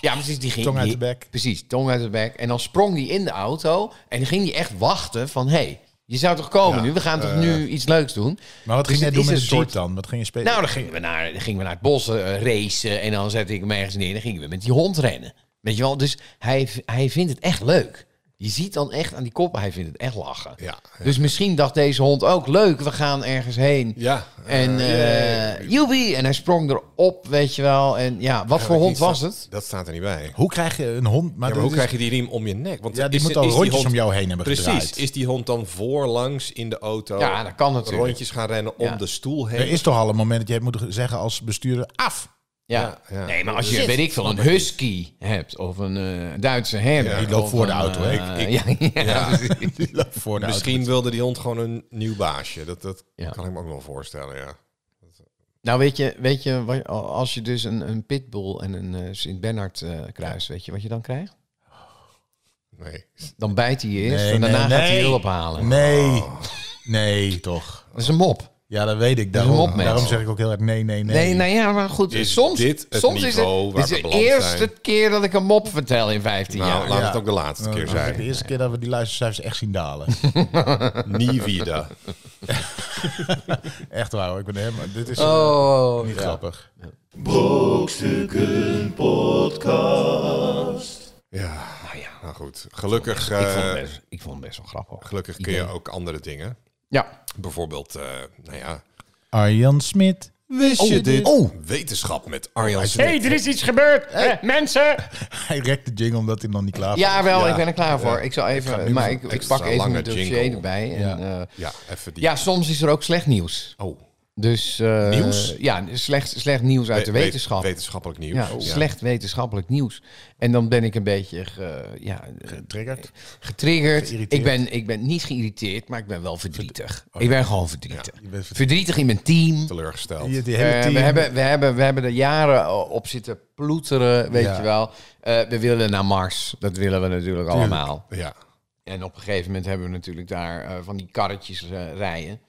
Speaker 4: Ja, precies, die ging
Speaker 3: Tong uit de
Speaker 4: die-
Speaker 3: bek.
Speaker 4: Precies, tong uit de bek. En dan sprong die in de auto en dan ging die echt wachten van... hé, hey, je zou toch komen nu? We gaan toch nu iets leuks doen?
Speaker 3: Maar wat
Speaker 4: Dus
Speaker 3: ging jij
Speaker 4: het
Speaker 3: doen
Speaker 4: is
Speaker 3: met
Speaker 4: een
Speaker 3: de soort eh,
Speaker 4: soort-
Speaker 3: dan? Wat ging je spelen?
Speaker 4: Nou, dan gingen we naar, dan gingen we naar het bos eh, racen en dan zette ik hem ergens neer... en dan gingen we met die hond rennen. Weet je wel, dus hij, hij vindt het echt leuk. Je ziet dan echt aan die kop, hij vindt het echt lachen.
Speaker 2: Ja.
Speaker 4: Dus misschien dacht deze hond ook, leuk, we gaan ergens heen.
Speaker 2: Ja.
Speaker 4: En eh joepie! En hij sprong erop, weet je wel. En ja, wat voor hond was het?
Speaker 2: Dat staat er niet bij.
Speaker 3: hoe krijg je een hond? Maar,
Speaker 2: Ja, maar hoe krijg je die riem om je nek? Want
Speaker 3: Ja, die
Speaker 2: is-
Speaker 3: moet al
Speaker 2: is
Speaker 3: rondjes
Speaker 2: hond-
Speaker 3: om jou heen hebben
Speaker 2: Precies.
Speaker 3: gedraaid.
Speaker 2: Is die hond dan voorlangs in de auto?
Speaker 4: Ja, dat kan natuurlijk.
Speaker 2: Rondjes gaan rennen om
Speaker 4: Ja.
Speaker 2: de stoel heen.
Speaker 3: Er is toch al een moment dat jij moet zeggen als bestuurder
Speaker 4: (laughs)
Speaker 3: af.
Speaker 4: Ja.
Speaker 2: Ja, ja.
Speaker 4: Nee, maar als je, weet ik veel, een husky hebt of een eh, Duitse herder.
Speaker 2: Ja,
Speaker 3: die loopt
Speaker 4: of
Speaker 3: voor de
Speaker 4: een,
Speaker 3: auto, hè?
Speaker 4: eh,
Speaker 2: Ik-
Speaker 4: ja, ja.
Speaker 3: (laughs) Nou, Voor de
Speaker 2: Misschien wilde die hond gewoon een nieuw baasje. Dat, dat
Speaker 4: Ja.
Speaker 2: kan ik me ook wel voorstellen, ja.
Speaker 4: Nou, weet je, weet je, wat- als je dus een, een pitbull en een eh, Sint-Bernard eh, kruist, weet je wat je dan krijgt?
Speaker 2: Nee.
Speaker 4: Dan bijt hij je eerst
Speaker 3: Nee,
Speaker 4: en daarna
Speaker 3: nee,
Speaker 4: gaat hij
Speaker 3: nee.
Speaker 4: hulp halen.
Speaker 3: Nee. Nee, toch.
Speaker 4: Dat is een mop.
Speaker 3: Ja, dat weet ik.
Speaker 4: Dat Oh. is
Speaker 3: Daarom,
Speaker 4: een mopmens.
Speaker 3: daarom zeg ik ook heel erg nee, nee, nee.
Speaker 4: Nee, nou ja, maar goed.
Speaker 2: Is
Speaker 4: soms
Speaker 2: dit het
Speaker 4: soms is
Speaker 2: niveau
Speaker 4: het
Speaker 2: waar
Speaker 4: dit
Speaker 2: we
Speaker 4: is de
Speaker 2: beland
Speaker 4: eerste
Speaker 2: zijn?
Speaker 4: keer dat ik een mop vertel in 15
Speaker 2: Nou,
Speaker 4: jaar.
Speaker 2: laat
Speaker 3: Ja.
Speaker 2: het ook de laatste keer
Speaker 3: Dat is de
Speaker 2: zijn.
Speaker 3: eerste keer dat we die luistercijfers echt zien
Speaker 4: (laughs)
Speaker 3: dalen.
Speaker 2: Nivida.
Speaker 3: Echt waar hoor, ik ben helemaal... Dit is
Speaker 4: Oh,
Speaker 3: niet
Speaker 4: ja.
Speaker 3: grappig.
Speaker 2: Ja,
Speaker 4: Nou ja,
Speaker 2: nou goed. Gelukkig,
Speaker 4: ik, vond het
Speaker 2: eh,
Speaker 4: best, ik vond het best wel grappig.
Speaker 2: gelukkig kun je ook andere dingen.
Speaker 4: Ja,
Speaker 2: Bijvoorbeeld, eh, nou ja...
Speaker 3: Arjan Smit.
Speaker 2: Wist
Speaker 3: je dit? Oh.
Speaker 2: Wetenschap met Arjan
Speaker 5: Hé,
Speaker 2: Smit.
Speaker 5: hey, er is iets gebeurd. Eh, mensen,
Speaker 3: Hij rekt de jingle omdat hij nog niet klaar
Speaker 4: ja wel,
Speaker 2: Ja.
Speaker 4: ik ben er klaar voor. Ik zal even,
Speaker 2: nu
Speaker 4: maar
Speaker 2: een
Speaker 4: ik, ik
Speaker 2: extra
Speaker 4: pak even
Speaker 2: lange
Speaker 4: mijn dossier
Speaker 2: jingle.
Speaker 4: erbij. En,
Speaker 3: Ja.
Speaker 4: eh,
Speaker 2: Ja, even die.
Speaker 4: Ja, soms is er ook slecht nieuws.
Speaker 2: Oh,
Speaker 4: Dus, eh,
Speaker 2: Nieuws?
Speaker 4: Ja, slecht, slecht nieuws uit de
Speaker 2: we-
Speaker 4: wetenschap.
Speaker 2: Wetenschappelijk nieuws.
Speaker 4: ja,
Speaker 2: Oh.
Speaker 4: slecht wetenschappelijk nieuws. En dan ben ik een beetje ge- ja,
Speaker 3: Triggert.
Speaker 4: Eh, getriggerd.
Speaker 3: Geïrriteerd.
Speaker 4: Ik ben, ik ben niet geïrriteerd, maar ik ben wel verdrietig.
Speaker 2: Oh,
Speaker 4: Ik ben gewoon verdrietig.
Speaker 3: Je bent
Speaker 4: Verdrietig in mijn team.
Speaker 2: Teleurgesteld.
Speaker 3: Die, die hele
Speaker 4: Eh,
Speaker 3: team.
Speaker 4: we, hebben, we, hebben, we hebben er jaren op zitten ploeteren, weet
Speaker 3: Ja.
Speaker 4: je wel. Eh, we willen naar Mars. Dat willen we natuurlijk allemaal.
Speaker 2: Ja.
Speaker 4: En op een gegeven moment hebben we natuurlijk daar eh, van die karretjes eh, rijden.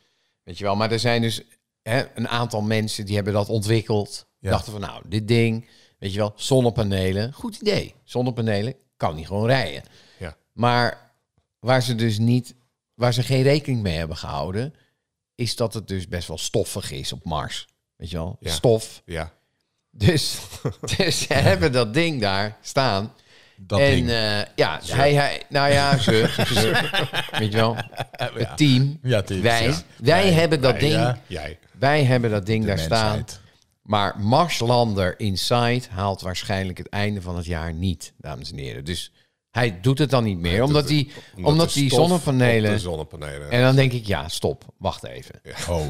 Speaker 4: Weet je wel, maar er zijn dus hè, een aantal mensen die hebben dat ontwikkeld.
Speaker 3: Ja.
Speaker 4: Dachten van nou, dit ding, weet je wel, zonnepanelen, goed idee. Zonnepanelen kan niet gewoon rijden.
Speaker 2: Ja.
Speaker 4: Maar waar ze dus niet, waar ze geen rekening mee hebben gehouden, is dat het dus best wel stoffig is op Mars. Weet je wel,
Speaker 2: Ja.
Speaker 4: stof.
Speaker 2: ja.
Speaker 3: (laughs)
Speaker 4: Dus, dus ze hebben dat ding daar staan
Speaker 3: dat
Speaker 4: en
Speaker 3: ding.
Speaker 4: eh, ja, hij, hij, nou
Speaker 3: (laughs)
Speaker 4: ja, ze, ze- weet je wel, het team,
Speaker 3: Ja, teams,
Speaker 4: wij,
Speaker 3: ja.
Speaker 4: wij hebben dat ding,
Speaker 3: ja.
Speaker 2: Jij.
Speaker 4: wij hebben dat ding daar staan.
Speaker 3: mensheid.
Speaker 4: Maar Marslander Inside haalt waarschijnlijk het einde van het jaar niet, dames en heren. Dus hij doet het dan niet meer, omdat, die, omdat,
Speaker 2: de
Speaker 4: die
Speaker 2: stof op
Speaker 4: zonnepanelen.
Speaker 2: De zonnepanelen.
Speaker 4: En dan denk ik, ja, stop, wacht even, (laughs)
Speaker 3: Oh,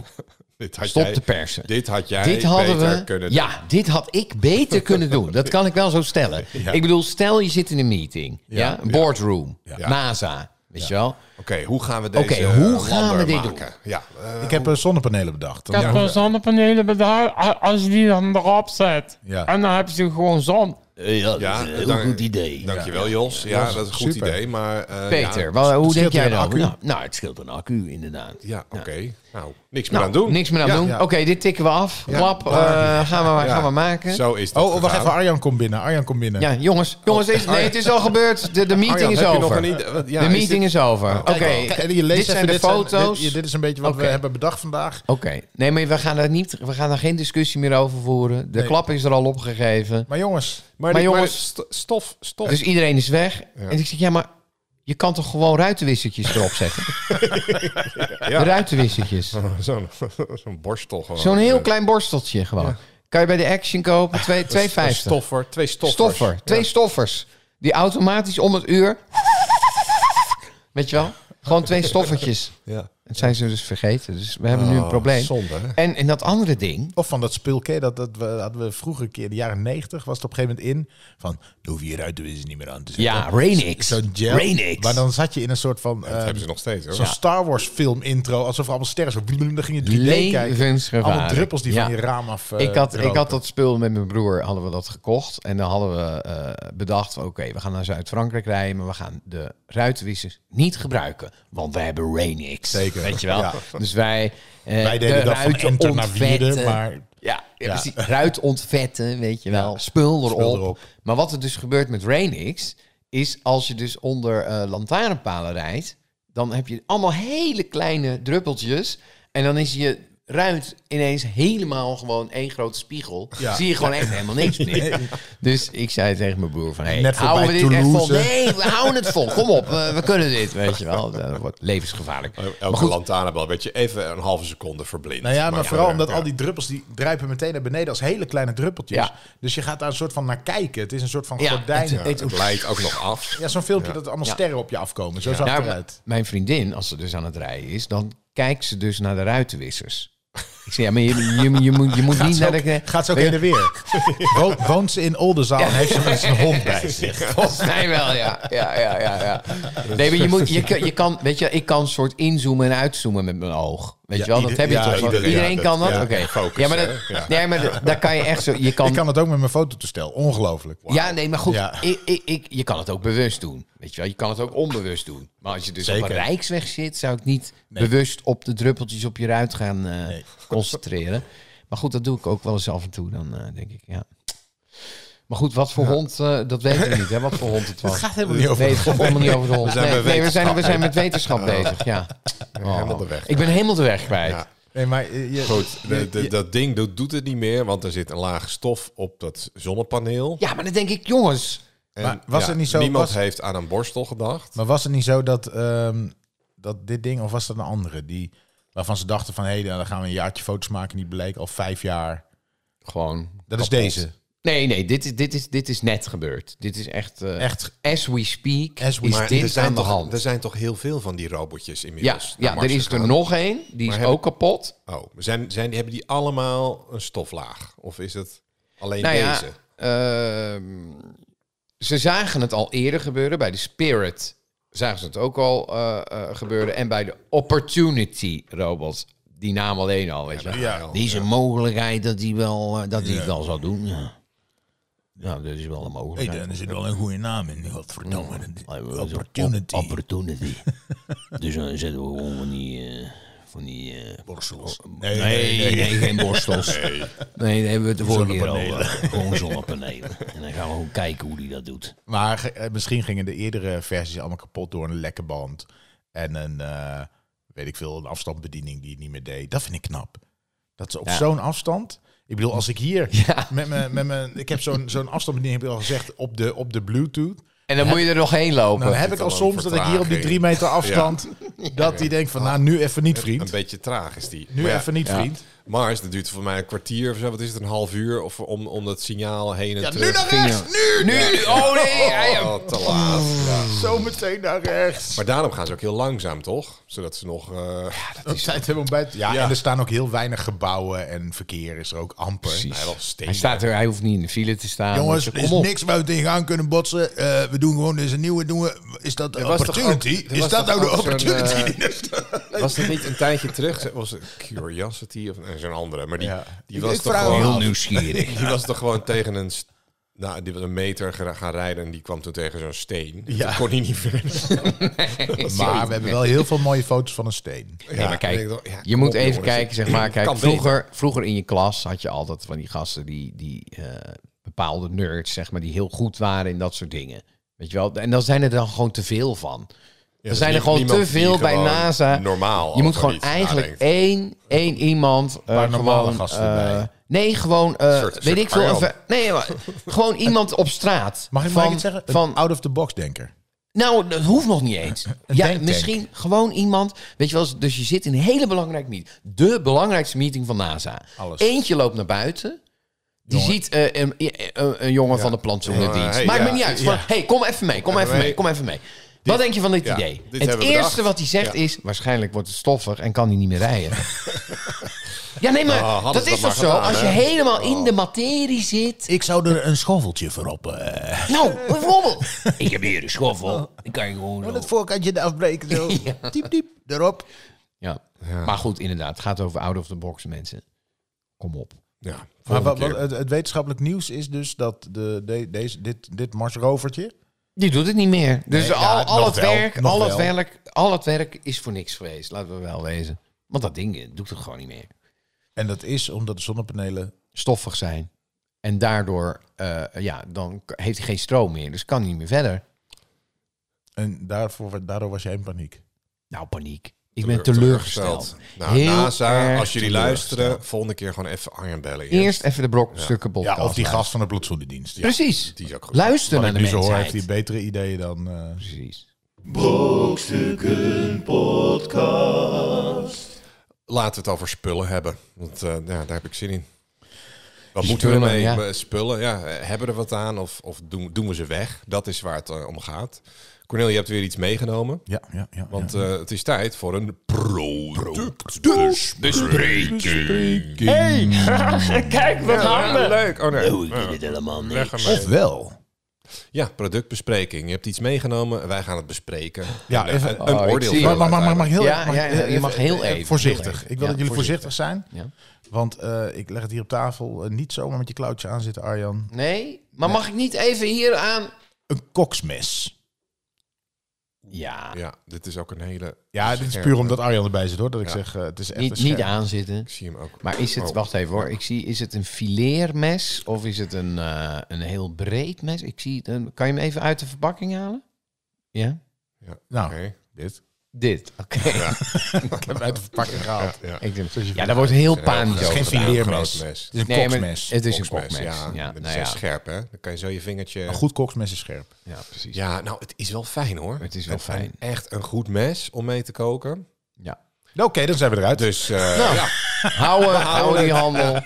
Speaker 2: dit had
Speaker 4: stop
Speaker 2: jij,
Speaker 4: te persen.
Speaker 2: Dit had jij
Speaker 4: Dit hadden
Speaker 2: beter
Speaker 4: we.
Speaker 2: kunnen
Speaker 4: ja, dit had ik beter kunnen doen. Dat
Speaker 2: (laughs)
Speaker 4: kan ik wel zo stellen. Ik bedoel, stel je zit in een meeting, ja, een boardroom,
Speaker 2: Ja.
Speaker 4: NASA, Weet je wel?
Speaker 2: Oké, hoe gaan we deze
Speaker 4: Oké,
Speaker 2: eh,
Speaker 4: hoe gaan
Speaker 2: lander
Speaker 4: we dit
Speaker 2: maken? Ja, eh,
Speaker 3: Ik heb eh, zonnepanelen bedacht.
Speaker 5: Ik heb een zonnepanelen bedacht. a- Als je die dan erop zet.
Speaker 3: Ja.
Speaker 5: En dan heb je gewoon zon.
Speaker 4: Eh, ja,
Speaker 2: Ja,
Speaker 4: dat is een heel
Speaker 2: dank-
Speaker 4: goed idee.
Speaker 2: dankjewel Jos. Ja, dat is een goed
Speaker 3: super.
Speaker 2: idee, maar... eh,
Speaker 4: Peter,
Speaker 2: ja,
Speaker 4: wel, hoe denk
Speaker 3: scheelt
Speaker 4: jij
Speaker 3: weer een
Speaker 4: dan?
Speaker 3: accu.
Speaker 4: Nou, nou, het scheelt een accu, inderdaad.
Speaker 2: Ja, oké. Nou, niks meer
Speaker 4: Nou,
Speaker 2: aan doen.
Speaker 4: niks meer aan
Speaker 2: Ja,
Speaker 4: doen.
Speaker 3: ja.
Speaker 4: Oké, dit tikken we af.
Speaker 3: Ja.
Speaker 4: Klap, eh, gaan,
Speaker 2: ja.
Speaker 4: we, gaan we maken.
Speaker 2: Zo is dat
Speaker 3: Oh, wacht
Speaker 2: gegaan.
Speaker 3: even. Arjan komt binnen. Arjan komt binnen.
Speaker 4: Ja, jongens, jongens is, nee, het is al gebeurd. De, de meeting
Speaker 2: Arjan,
Speaker 4: is
Speaker 2: Oh. heb je nog
Speaker 4: over.
Speaker 2: een idee? Wat- ja,
Speaker 4: de
Speaker 2: is
Speaker 4: meeting
Speaker 2: dit- Oh,
Speaker 4: is, over. Oké,
Speaker 3: Kijk, en je leest
Speaker 4: dit
Speaker 3: even,
Speaker 4: zijn de foto's.
Speaker 3: dit, dit is een beetje wat
Speaker 4: Oké.
Speaker 3: we hebben bedacht vandaag.
Speaker 4: Oké, nee, maar we gaan, daar niet, we gaan daar geen discussie meer over voeren. De
Speaker 3: Nee.
Speaker 4: klap is er al opgegeven.
Speaker 3: Maar jongens,
Speaker 2: Maar,
Speaker 4: Maar
Speaker 2: dit-
Speaker 4: jongens-
Speaker 2: st- stof, stof.
Speaker 4: Dus iedereen is weg. En ik zeg, ja, maar je kan toch gewoon ruitenwissertjes erop zetten?
Speaker 2: (laughs) Ja. Oh,
Speaker 4: Ruitenwissertjes.
Speaker 2: (laughs) Zo'n (laughs) zo'n borstel gewoon.
Speaker 4: Zo'n heel klein borsteltje gewoon. Kan je bij de Action kopen, twee- 2,50.
Speaker 2: Een stoffer, twee stoffers.
Speaker 4: Stoffer, twee stoffers. Die automatisch om het uur... Weet je wel? Gewoon twee stoffertjes.
Speaker 2: Ja.
Speaker 4: Dat zijn ze dus vergeten. Dus we hebben nu een
Speaker 2: Oh,
Speaker 4: probleem.
Speaker 2: Zonde, hè?
Speaker 4: En, en dat andere ding...
Speaker 3: of van dat spul, ken je dat, dat we, hadden we vroeger een keer, in de jaren 90 was het op een gegeven moment in. Van, dan hoef je je ruitenwissers niet meer aan te zetten.
Speaker 4: Ja, Rainix.
Speaker 3: Zo'n gel.
Speaker 4: Rainix.
Speaker 3: Maar dan zat je in een soort van...
Speaker 2: Dat
Speaker 4: Ehm,
Speaker 3: eh,
Speaker 2: hebben ze nog steeds, hoor.
Speaker 3: Zo'n Star Wars film intro, alsof er allemaal sterren zo... bloem, Dan ging je 3D kijken.
Speaker 4: Levensgevaarlijk.
Speaker 3: Allemaal druppels die
Speaker 4: Ja.
Speaker 3: van je raam af eh,
Speaker 4: ik, had, ik
Speaker 3: dropen.
Speaker 4: had dat spul met mijn broer, hadden we dat gekocht. En dan hadden we eh, bedacht, oké, we gaan naar Zuid-Frankrijk rijden, maar we gaan de ruitenwissers niet gebruiken. Want wij hebben Rainix.
Speaker 3: Zeker.
Speaker 4: Weet je wel?
Speaker 3: Ja.
Speaker 4: Dus wij... eh,
Speaker 3: Wij deden
Speaker 4: de
Speaker 3: dat van
Speaker 4: ruiten
Speaker 3: Enter naar
Speaker 4: ontvetten.
Speaker 3: Wierden, maar...
Speaker 4: Ja, ja,
Speaker 3: Ja.
Speaker 4: precies. Ruit ontvetten, weet je wel. spul, erop.
Speaker 3: spul erop.
Speaker 4: Maar wat er dus gebeurt met Rainix... is als je dus onder eh, lantaarnpalen rijdt... dan heb je allemaal hele kleine druppeltjes... en dan is je ruit ineens helemaal gewoon één grote spiegel.
Speaker 3: Ja.
Speaker 4: Zie je gewoon echt helemaal niks meer. Dus ik zei tegen mijn broer van... Hey,
Speaker 3: Net
Speaker 4: houden we
Speaker 3: voorbij
Speaker 4: dit echt vol?
Speaker 3: Toulouse.
Speaker 4: Nee, we houden het vol. Kom op, we, we kunnen dit, weet je wel. Dat wordt levensgevaarlijk.
Speaker 3: Oh,
Speaker 4: Maar
Speaker 2: Eh, Elke
Speaker 4: goed,
Speaker 2: lantaarnbel werd je even een halve seconde verblind.
Speaker 3: Nou ja, maar vooral omdat
Speaker 2: ja.
Speaker 3: al die druppels die druipen meteen naar beneden als hele kleine druppeltjes.
Speaker 4: Ja.
Speaker 3: Dus je gaat daar een soort van naar kijken. Het is een soort van
Speaker 4: Ja,
Speaker 3: gordijn.
Speaker 4: het- het-
Speaker 2: Het leidt ook nog af.
Speaker 3: ja, zo'n filmpje dat allemaal
Speaker 4: Ja.
Speaker 3: sterren op je afkomen. Zo zag
Speaker 4: Nou,
Speaker 3: het eruit.
Speaker 4: Mijn vriendin, als ze dus aan het rijden is, dan kijkt ze dus naar de ruitenwissers. Ik zeg, ja, maar je, je, je moet, je moet niet naar de...
Speaker 3: (laughs) Gaat ze ook
Speaker 4: (laughs)
Speaker 3: heen en weer. Wo- woont ze in Oldenzaal en heeft ze met een hond bij zich.
Speaker 4: Volgens mij wel, ja. ja, ja, ja, ja.
Speaker 3: (laughs)
Speaker 4: Nee, maar je, moet, je, kan- je kan, weet je, ik kan soort inzoomen en uitzoomen met mijn oog. Weet
Speaker 3: Ja,
Speaker 4: je wel, dat
Speaker 3: ieder-
Speaker 4: heb je
Speaker 2: ja,
Speaker 4: toch? wel?
Speaker 2: iedereen-
Speaker 4: Iedereen,
Speaker 2: ja, dat-
Speaker 4: kan dat?
Speaker 2: ja,
Speaker 4: Oké.
Speaker 2: focus,
Speaker 4: Ja, maar, dat,
Speaker 2: hè? Ja.
Speaker 4: Nee, maar dat- daar kan je echt zo... Je
Speaker 3: (laughs)
Speaker 4: kan,
Speaker 3: Ik kan het ook met mijn fototoestel. Ongelooflijk.
Speaker 4: Ja, nee, maar goed,
Speaker 3: Ja.
Speaker 4: ik, ik, ik, je kan het ook bewust doen. Weet je wel, je kan het ook onbewust doen. Maar als je dus op
Speaker 3: Zeker.
Speaker 4: een rijksweg zit, zou ik niet bewust op de druppeltjes op je ruit gaan eh, concentreren. Maar goed, dat doe ik ook wel eens af en toe. Dan eh, denk ik, ja. Maar goed, wat voor hond, eh, dat weten we niet, hè? Wat voor hond het
Speaker 3: (laughs)
Speaker 4: was. Het gaat helemaal
Speaker 3: niet over
Speaker 4: nee, het gaat helemaal niet over de hond.
Speaker 2: zijn
Speaker 4: nee,
Speaker 2: met
Speaker 4: nee, we, zijn, we
Speaker 2: wetenschap.
Speaker 4: zijn met wetenschap bezig, ja. Oh.
Speaker 2: helemaal de weg
Speaker 4: Ik ben helemaal de weg kwijt.
Speaker 2: Ja.
Speaker 3: Nee, maar eh, je,
Speaker 2: Goed, de- de- dat ding doet, doet het niet meer, want er zit een laag stof op dat zonnepaneel.
Speaker 4: ja, maar dan denk ik, jongens,
Speaker 2: En,
Speaker 3: Maar was het niet zo-
Speaker 2: Niemand
Speaker 3: was-
Speaker 2: heeft aan een borstel gedacht.
Speaker 3: Maar was het niet zo dat, ehm, dat dit ding, of was dat een andere, die, waarvan ze dachten van hé, hey, dan gaan we een jaartje foto's maken, die bleek al vijf jaar.
Speaker 4: gewoon...
Speaker 3: Dat is deze.
Speaker 4: Nee, nee, dit is, dit is, dit is net gebeurd. Dit is echt... eh,
Speaker 3: Echt.
Speaker 4: As we speak
Speaker 3: As we-
Speaker 4: is
Speaker 3: Maar
Speaker 4: dit aan de
Speaker 2: toch,
Speaker 4: hand.
Speaker 2: er zijn toch heel veel van die robotjes
Speaker 4: ja,
Speaker 2: inmiddels. naar
Speaker 4: ja
Speaker 2: Mars
Speaker 4: er is er
Speaker 2: gegaan?
Speaker 4: nog één. Die is
Speaker 2: hebben-
Speaker 4: ook kapot.
Speaker 2: Oh, zijn, zijn, hebben die allemaal een stoflaag? Of is het alleen
Speaker 4: Nou ja,
Speaker 2: deze?
Speaker 4: ehm, ze zagen het al eerder gebeuren. Bij de Spirit zagen ze het ook al eh, eh, gebeuren. En bij de Opportunity robots. Die naam alleen al, weet je wel.
Speaker 3: Ja,
Speaker 4: Die is een mogelijkheid dat hij wel, eh, dat hij het wel zal doen. Ja. ja, dat is wel een mogelijkheid.
Speaker 3: er zit wel een goede naam in. Godverdomme.
Speaker 4: Opportunity. (laughs) opportunity. dus dan zetten we gewoon van die... eh, van die eh,
Speaker 3: Borstels.
Speaker 4: Nee, nee, geen borstels. Nee, daar hebben we het de vorige keer over.
Speaker 3: Zonnepanelen.
Speaker 4: Gewoon zonnepanelen. En dan gaan we gewoon kijken hoe die dat doet.
Speaker 3: Maar ge- eh, misschien gingen de eerdere versies allemaal kapot door een lekke band. En een, eh, weet ik veel, een afstandsbediening die het niet meer deed. Dat vind ik knap. Dat ze op
Speaker 4: Ja.
Speaker 3: zo'n afstand... Ik bedoel, als ik hier met mijn... Met mijn ik heb zo'n zo'n afstandsbediening, heb ik al gezegd, op de, op de Bluetooth.
Speaker 4: En dan moet je er nog heen lopen.
Speaker 3: Nou, dan heb ik
Speaker 2: zit
Speaker 3: al
Speaker 2: al een
Speaker 3: soms dat ik hier op die
Speaker 2: vertraging.
Speaker 3: drie meter afstand... dat die denkt van, nou, nu even niet,
Speaker 2: Een
Speaker 3: vriend.
Speaker 2: beetje traag is die.
Speaker 3: Nu
Speaker 2: Maar ja,
Speaker 3: even niet, vriend.
Speaker 2: Mars, dat duurt voor mij een kwartier of zo. Wat is het, een half uur? Of om, om dat signaal heen en
Speaker 3: Ja, nu
Speaker 2: terug.
Speaker 3: naar rechts! Nu! Nu! nu.
Speaker 2: Oh nee, te laat. Ja.
Speaker 3: Zo meteen naar rechts.
Speaker 2: Maar daarom gaan ze ook heel langzaam, toch? Zodat ze nog... eh,
Speaker 3: Dat tijd hebben om bij te- ja,
Speaker 2: Ja.
Speaker 3: en er staan ook heel weinig gebouwen en verkeer is er ook amper.
Speaker 2: hij wel steen.
Speaker 4: Hij, staat er, hij hoeft niet in de file te staan.
Speaker 3: Jongens, er
Speaker 4: Dus kom
Speaker 3: is
Speaker 4: op.
Speaker 3: niks waar we tegenaan kunnen botsen. Eh, we doen gewoon deze nieuwe. Doen we, is dat de
Speaker 2: was toch
Speaker 3: opportunity?
Speaker 2: ook- er
Speaker 3: is
Speaker 2: was
Speaker 3: dat
Speaker 2: toch
Speaker 3: nou de
Speaker 2: ook zo'n,
Speaker 3: opportunity?
Speaker 2: eh,
Speaker 3: die er staat?
Speaker 2: Was dat niet een tijdje terug? Was het Curiosity of nee, zo'n andere? Maar die,
Speaker 3: Ja.
Speaker 2: die was
Speaker 3: Ik
Speaker 2: toch
Speaker 3: vraag me
Speaker 2: gewoon...
Speaker 4: Oh.
Speaker 1: Heel nieuwsgierig.
Speaker 2: Die was toch gewoon tegen een... st- Nou, die was een meter gera- gaan rijden en die kwam toen tegen zo'n steen.
Speaker 3: Ja.
Speaker 2: Ja. Toen kon hij niet verder.
Speaker 3: Maar we hebben wel heel veel mooie foto's van een steen.
Speaker 4: Nee, maar kijk,
Speaker 2: ik denk toch, ja,
Speaker 4: je
Speaker 2: kom
Speaker 4: moet
Speaker 2: op,
Speaker 4: even
Speaker 2: jongens.
Speaker 4: kijken,
Speaker 2: (clears throat)
Speaker 4: zeg maar. Kijk,
Speaker 2: Kan
Speaker 4: vroeger, vroeger in je klas had je altijd van die gasten die, die eh, bepaalde nerds, zeg maar, die heel goed waren in dat soort dingen. Weet je wel? En dan zijn er dan gewoon te veel van.
Speaker 2: Ja,
Speaker 4: er zijn er
Speaker 2: nie-
Speaker 4: gewoon te
Speaker 2: niemand die
Speaker 4: veel bij
Speaker 2: gewoon
Speaker 4: NASA.
Speaker 2: Normaal.
Speaker 4: je moet
Speaker 2: over
Speaker 4: gewoon
Speaker 2: iets
Speaker 4: eigenlijk
Speaker 2: nadenkt.
Speaker 4: één, één iemand. eh,
Speaker 3: paar normale
Speaker 4: gewoon,
Speaker 3: gasten
Speaker 4: eh,
Speaker 3: erbij.
Speaker 4: Nee, gewoon. eh,
Speaker 2: soort-
Speaker 4: weet
Speaker 2: soort
Speaker 4: ik veel.
Speaker 2: Arjan.
Speaker 4: even- nee, maar,
Speaker 3: (laughs)
Speaker 4: gewoon iemand op straat.
Speaker 3: Mag ik
Speaker 4: van,
Speaker 3: van, het zeggen? Een
Speaker 4: Van,
Speaker 3: out-of-the-box-denker.
Speaker 4: nou, dat hoeft nog niet
Speaker 2: (laughs)
Speaker 4: eens. ja,
Speaker 3: denktank.
Speaker 4: misschien gewoon iemand. Weet je wel, eens, dus je zit in een hele belangrijke meeting. De belangrijkste meeting van NASA.
Speaker 3: Alles.
Speaker 4: Eentje loopt naar buiten. Die ziet eh, een, eh, een, een jongen van de plantsoenendienst.
Speaker 2: Ja, hey,
Speaker 4: Maakt me
Speaker 2: ja,
Speaker 4: niet uit. Van, hey, kom even mee, kom even
Speaker 2: mee.
Speaker 4: mee, kom even mee. Wat denk je van dit
Speaker 2: ja,
Speaker 4: idee?
Speaker 2: dit
Speaker 4: het
Speaker 2: hebben we
Speaker 4: eerste
Speaker 2: bedacht.
Speaker 4: wat hij zegt
Speaker 2: Ja.
Speaker 4: is... waarschijnlijk wordt het stoffig en kan hij niet meer
Speaker 2: (laughs)
Speaker 4: rijden. ja, nee, maar
Speaker 2: Nou, hadden
Speaker 4: dat
Speaker 2: ze
Speaker 4: is
Speaker 2: dat
Speaker 4: toch
Speaker 2: maar
Speaker 4: zo?
Speaker 2: gedaan,
Speaker 4: Als je
Speaker 2: hè? Oh.
Speaker 4: helemaal in de materie zit...
Speaker 3: Ik zou er een schoveltje voor op. eh.
Speaker 4: Nou, bijvoorbeeld... ik heb hier een schoffel. Ik kan je gewoon...
Speaker 3: Met het voorkantje eraf breken.
Speaker 2: (laughs)
Speaker 3: Zo. Diep, diep. Erop.
Speaker 4: Ja. Maar goed, inderdaad. Het gaat over out of the box mensen. Kom op.
Speaker 2: Ja,
Speaker 3: Maar
Speaker 2: volgende
Speaker 3: wat, wat-
Speaker 2: keer.
Speaker 3: het, het wetenschappelijk nieuws is dus dat de, de- deze, dit, dit Mars-rovertje...
Speaker 4: Die doet het niet meer. Dus
Speaker 3: Nee,
Speaker 4: al,
Speaker 3: ja,
Speaker 4: al,
Speaker 3: nog
Speaker 4: het
Speaker 3: wel,
Speaker 4: werk,
Speaker 3: nog
Speaker 4: al, het
Speaker 3: wel.
Speaker 4: werk, al het werk is voor niks geweest. Laten we wel wezen. Want dat ding eh, doet het gewoon niet meer.
Speaker 3: En dat is omdat de zonnepanelen...
Speaker 4: Stoffig zijn. En daardoor eh, ja, dan k- heeft hij geen stroom meer. Dus kan niet meer verder.
Speaker 3: En daarvoor, daardoor was jij in paniek.
Speaker 4: Nou, paniek. Ik ben teleurgesteld.
Speaker 2: Nou,
Speaker 4: Heel
Speaker 2: NASA,
Speaker 4: erg
Speaker 2: als jullie
Speaker 4: teleurgesteld.
Speaker 2: luisteren, volgende keer gewoon even Arjen bellen.
Speaker 4: Eerst even de brokstukken podcast.
Speaker 3: Ja, of die
Speaker 4: luisteren.
Speaker 3: gast van de plantsoenendienst. Ja.
Speaker 4: Precies.
Speaker 2: Die is ook goed.
Speaker 3: Wat
Speaker 4: Luister naar
Speaker 3: ik
Speaker 4: de
Speaker 3: nu zo hoor,
Speaker 4: mensheid.
Speaker 3: heeft hij betere ideeën dan... eh,
Speaker 4: Precies.
Speaker 2: Laten we het over spullen hebben. Want eh, ja, daar heb ik zin in. Wat
Speaker 4: Spullen,
Speaker 2: moeten we
Speaker 4: ja.
Speaker 2: ermee? Eh, Spullen, ja. Eh, Hebben we er wat aan of, of doen, doen we ze weg? Dat is waar het eh, om gaat. Cornel, je hebt weer iets meegenomen.
Speaker 3: ja, ja, ja.
Speaker 2: Want
Speaker 3: ja.
Speaker 2: eh, het is tijd voor een productbespreking.
Speaker 5: Hey, kijk, wat handen.
Speaker 2: leuk. Oh nee.
Speaker 3: Ofwel...
Speaker 2: Ja, productbespreking. Je hebt iets meegenomen, wij gaan het bespreken.
Speaker 3: Ja,
Speaker 2: En, eh,
Speaker 3: even-
Speaker 2: een,
Speaker 4: oh, ik
Speaker 2: oordeel.
Speaker 4: zie.
Speaker 2: vellen
Speaker 3: Maar, maar, maar, maar mag ik heel
Speaker 4: Ja,
Speaker 3: mag ik
Speaker 4: ja, ja, je mag heel even. Heel
Speaker 3: Voorzichtig. Ik
Speaker 4: even.
Speaker 3: wil
Speaker 4: Ja,
Speaker 3: dat jullie voorzichtig zijn.
Speaker 4: Ja.
Speaker 3: Want eh, ik leg het hier op tafel. Eh, niet zomaar met je klauwtje aan zitten, Arjan.
Speaker 4: Nee, maar mag ik niet even hier aan...
Speaker 3: Een koksmes.
Speaker 4: Ja,
Speaker 2: Ja, dit is ook een hele...
Speaker 3: Ja, dit is
Speaker 2: scherpe.
Speaker 3: puur omdat Arjan erbij zit hoor. Dat ik
Speaker 2: Ja.
Speaker 3: zeg, eh, het is echt een
Speaker 4: niet,
Speaker 3: scherp.
Speaker 4: niet aanzitten.
Speaker 2: Ik zie hem ook.
Speaker 4: Maar is het,
Speaker 2: Oh.
Speaker 4: wacht even hoor, ik zie, is het een fileermes of is het een, eh, een heel breed mes? Ik zie, het, een- kan je hem even uit de verpakking halen? Ja?
Speaker 2: Ja,
Speaker 3: Nou,
Speaker 2: oké.
Speaker 4: (laughs)
Speaker 3: dit.
Speaker 4: Dit,
Speaker 3: (laughs)
Speaker 4: oké.
Speaker 3: Ik heb het uit de verpakking gehaald.
Speaker 2: Ja.
Speaker 4: Ik denk-
Speaker 3: Zoals je
Speaker 4: Ja, daar wordt heel panisch
Speaker 3: Het is geen
Speaker 4: over.
Speaker 2: gedaan.
Speaker 3: fileermes.
Speaker 2: Groot mes.
Speaker 3: Het is een
Speaker 4: Nee, maar
Speaker 3: koksmes.
Speaker 4: dus het is een
Speaker 2: Koksmes,
Speaker 4: koksmes. Ja,
Speaker 2: Ja, dat is
Speaker 4: nou
Speaker 2: wel
Speaker 4: ja.
Speaker 2: scherp, hè? Dan kan je zo je vingertje...
Speaker 3: Een goed koksmes is scherp.
Speaker 4: ja, precies.
Speaker 2: Ja, nou, het is wel fijn, hoor.
Speaker 4: Het is wel
Speaker 2: Een- een-
Speaker 4: fijn.
Speaker 2: echt een goed mes om mee te koken.
Speaker 4: Ja.
Speaker 3: Nou, Oké, dan zijn we eruit.
Speaker 2: Dus, eh, ja.
Speaker 4: Houden, houden die handel.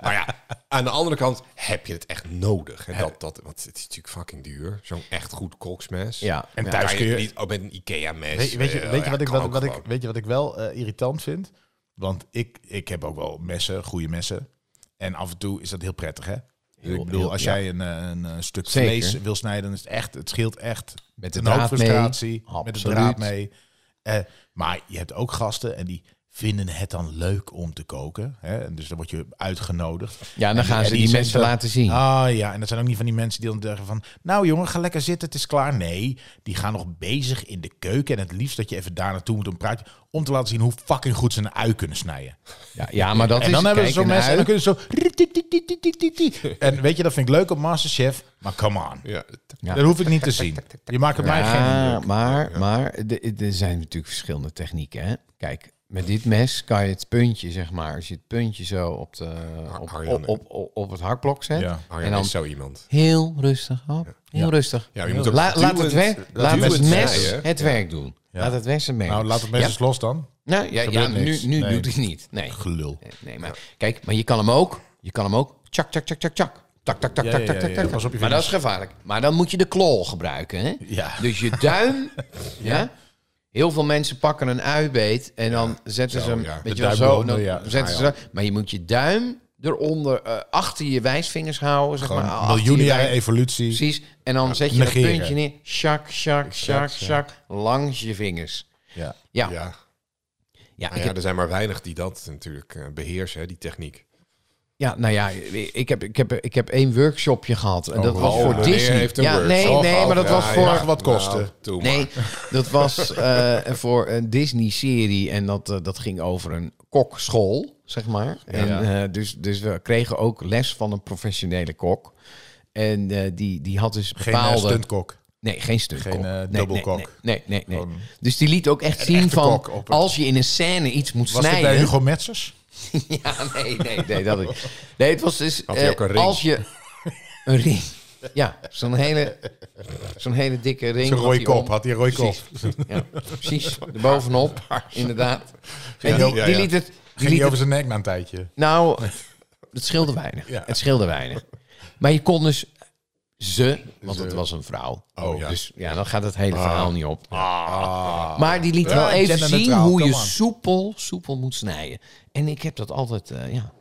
Speaker 2: Maar
Speaker 4: (laughs)
Speaker 2: ja, aan de andere kant heb je het echt nodig. Hè? Dat, dat, want het is natuurlijk fucking duur. Zo'n echt goed koksmes.
Speaker 4: Ja.
Speaker 3: (laughs) en
Speaker 4: ja.
Speaker 3: thuis
Speaker 2: Kan
Speaker 3: kun
Speaker 2: je
Speaker 3: je...
Speaker 2: het niet ook met een Ikea-mes.
Speaker 3: Weet, weet, je,
Speaker 2: eh,
Speaker 3: weet, je
Speaker 2: ja,
Speaker 3: wat ik,
Speaker 2: kan
Speaker 3: wat,
Speaker 2: ook
Speaker 3: wat ik,
Speaker 2: gewoon.
Speaker 3: weet je wat ik wel eh, irritant vind? Want ik, ik heb ook wel messen, goede messen. En af en toe is dat heel prettig, hè?
Speaker 4: Heel-
Speaker 3: ik bedoel,
Speaker 4: heel-
Speaker 3: als
Speaker 4: ja.
Speaker 3: jij een, eh, een eh, stuk
Speaker 4: Zeker.
Speaker 3: vlees wil snijden, dan is het echt, het scheelt echt
Speaker 4: Met de
Speaker 3: een hoop
Speaker 4: draad mee.
Speaker 3: frustratie, met de
Speaker 4: Absoluut.
Speaker 3: draad mee. Eh, maar je hebt ook gasten en die vinden het dan leuk om te koken. Hè? En dus dan word je uitgenodigd.
Speaker 4: Ja, dan
Speaker 3: En
Speaker 4: gaan
Speaker 3: en
Speaker 4: ze die
Speaker 3: zijn
Speaker 4: mensen
Speaker 3: zo-
Speaker 4: laten zien.
Speaker 3: Ah ja, en dat zijn ook niet van die mensen die dan zeggen van... Nou jongen, ga lekker zitten, het is klaar. Nee, die gaan nog bezig in de keuken. En het liefst dat je even daar naartoe moet om praten... om te laten zien hoe fucking goed ze een ui kunnen snijden.
Speaker 4: Ja, ja maar dat is...
Speaker 3: en dan hebben ze
Speaker 4: kijk,
Speaker 3: zo'n
Speaker 4: een
Speaker 3: mes en dan
Speaker 4: ui-
Speaker 3: kunnen ze zo... En weet je, dat vind ik leuk op Masterchef, maar come on.
Speaker 2: Ja, oh
Speaker 4: Ja.
Speaker 3: Dat hoef ik niet te zien. Je maakt op mij geen...
Speaker 4: Ja, Ah, maar, maar de- de- er zijn natuurlijk verschillende technieken. Hè? Kijk, met dit mes kan je het puntje, zeg maar, als je het puntje zo op, de, op,
Speaker 2: Arjan,
Speaker 4: op, op, op, op het hakblok zet.
Speaker 3: Ja,
Speaker 2: Arjan
Speaker 4: en dan
Speaker 2: is zo iemand.
Speaker 4: heel rustig. Hop, heel rustig.
Speaker 2: Ja, je moet ook
Speaker 4: La- laat het,
Speaker 2: duwend-
Speaker 4: werk, laat het
Speaker 2: duwend
Speaker 4: mes
Speaker 2: snijden.
Speaker 4: het werk doen. Laat het Westen mee.
Speaker 3: Nou, laat het mensen los dan.
Speaker 4: Nou, ja, ja,
Speaker 3: gebeurt
Speaker 4: nu,
Speaker 3: niks.
Speaker 4: nu
Speaker 3: Nee.
Speaker 4: doet hij het niet. Nee.
Speaker 3: Gelul.
Speaker 4: nee maar, kijk, maar je kan hem ook. Je kan hem ook. Tjak, tjak, tjak, tjak, tjak. Tak, tak, tak,
Speaker 3: Ja,
Speaker 4: tak,
Speaker 3: ja,
Speaker 4: tak,
Speaker 3: ja,
Speaker 4: tak,
Speaker 3: ja.
Speaker 4: tak.
Speaker 3: Pas op je
Speaker 4: Maar dat is
Speaker 3: vingers.
Speaker 4: gevaarlijk. Maar dan moet je de klol gebruiken. Hè?
Speaker 3: Ja.
Speaker 4: Dus je
Speaker 2: (laughs)
Speaker 4: duim. ja. Heel veel mensen pakken een uibeet en dan zetten ze hem
Speaker 2: ja.
Speaker 4: weet
Speaker 3: De
Speaker 4: je wel,
Speaker 3: duim
Speaker 4: zo. en Dan
Speaker 3: eronder, ja.
Speaker 4: zetten ze, maar je moet je duim eronder eh, achter je wijsvingers houden. Zeg maar, achter
Speaker 3: Miljoenen
Speaker 4: je
Speaker 3: jaren
Speaker 4: wijn-
Speaker 3: evolutie.
Speaker 4: Precies. En dan zet je
Speaker 3: negeren.
Speaker 4: dat puntje neer. Shak, shak, shak, shak. Langs je vingers.
Speaker 3: Ja.
Speaker 4: Ja, ja.
Speaker 2: Ja.
Speaker 4: ik
Speaker 2: Nou
Speaker 4: heb-
Speaker 2: ja, er zijn maar weinig die dat natuurlijk eh, beheersen, hè, die techniek.
Speaker 4: Ja, nou ja, ik heb, ik heb, ik heb één workshopje gehad. En dat was
Speaker 2: Oh,
Speaker 4: voor
Speaker 2: meneer
Speaker 4: Disney.
Speaker 2: heeft een
Speaker 4: ja, nee,
Speaker 2: workshop
Speaker 4: nee, maar dat
Speaker 2: gehad.
Speaker 4: was
Speaker 2: Ja,
Speaker 4: voor...
Speaker 2: ja.
Speaker 3: Mag wat kosten.
Speaker 2: Nou, doe maar.
Speaker 4: Nee,
Speaker 3: (laughs)
Speaker 4: dat was eh, voor een Disney-serie. En dat, eh, dat ging over een kokschool, zeg maar. En, eh, dus, dus we kregen ook les van een professionele kok. En eh, die, die had dus
Speaker 3: Geen eh,
Speaker 4: bepaalde...
Speaker 3: stuntkok.
Speaker 4: Nee, geen stuntkok.
Speaker 3: Geen, eh,
Speaker 4: Nee,
Speaker 3: dubbelkok.
Speaker 4: Nee, nee, nee. nee, nee.
Speaker 3: Gewoon
Speaker 4: Dus die liet ook echt zien
Speaker 3: echte
Speaker 4: van...
Speaker 3: kok op een-
Speaker 4: als je in een scène iets moet
Speaker 3: Was dit
Speaker 4: snijden...
Speaker 3: bij Hugo Metzers?
Speaker 4: (laughs) Ja, nee, nee, nee, dat niet. Nee, het was dus...
Speaker 2: Had hij
Speaker 4: eh,
Speaker 2: ook een ring?
Speaker 4: Als je... Een ring. Ja, zo'n hele, zo'n hele dikke ring.
Speaker 3: Zo'n
Speaker 4: had
Speaker 3: rode
Speaker 4: hij
Speaker 3: kop.
Speaker 4: om.
Speaker 3: Had hij een rode kop?
Speaker 4: Precies. Ja, precies. Bovenop, inderdaad. En
Speaker 2: Ja,
Speaker 4: die,
Speaker 2: ja,
Speaker 4: die
Speaker 2: ja.
Speaker 4: liet het... Die
Speaker 3: Ging hij
Speaker 4: liet
Speaker 3: over
Speaker 4: het
Speaker 3: zijn nek na een tijdje?
Speaker 4: nou, het scheelde weinig.
Speaker 3: Ja.
Speaker 4: Het scheelde weinig. Maar je kon dus... Ze, want het was een vrouw.
Speaker 2: Oh, ja.
Speaker 4: Dus ja, dan gaat het hele verhaal niet op.
Speaker 3: Ah.
Speaker 4: Maar die liet wel
Speaker 3: Ja,
Speaker 4: even zien
Speaker 3: genderneutraal,
Speaker 4: hoe je
Speaker 3: come on.
Speaker 4: soepel, soepel moet snijden. En ik heb dat altijd, eh, ja.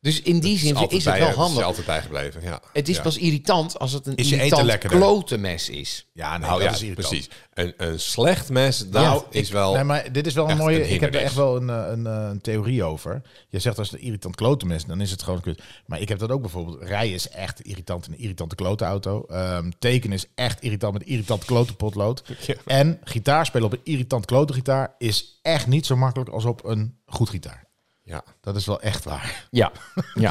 Speaker 4: Dus in die zin is,
Speaker 2: Altijd
Speaker 4: het
Speaker 2: bij-
Speaker 4: wel
Speaker 2: Het is
Speaker 4: handig.
Speaker 2: altijd bijgebleven, ja.
Speaker 4: Het is
Speaker 2: Ja.
Speaker 4: pas irritant als het een
Speaker 3: Is je eten
Speaker 4: irritant
Speaker 3: lekkerder?
Speaker 4: klote mes is.
Speaker 3: Ja, nee,
Speaker 2: Nou
Speaker 3: dat
Speaker 2: ja,
Speaker 3: is irritant.
Speaker 2: precies. Een, een slecht mes, dat
Speaker 3: Nou,
Speaker 2: is
Speaker 3: ik-
Speaker 2: wel...
Speaker 3: Nee, maar dit is wel een
Speaker 2: echt
Speaker 3: mooie.
Speaker 2: een
Speaker 3: ik heb er echt
Speaker 2: hindernis.
Speaker 3: wel een, eh, een, eh, een theorie over. Je zegt als het een irritant kloten is, dan is het gewoon kut. Maar ik heb dat ook bijvoorbeeld. Rijden is echt irritant in een irritante klote auto. Ehm, tekenen is echt irritant met een irritant klote potlood.
Speaker 2: Ja. (laughs)
Speaker 3: En gitaar spelen op een irritant klote gitaar is echt niet zo makkelijk als op een goed gitaar.
Speaker 2: Ja.
Speaker 3: Dat is wel echt waar.
Speaker 4: Ja, ja.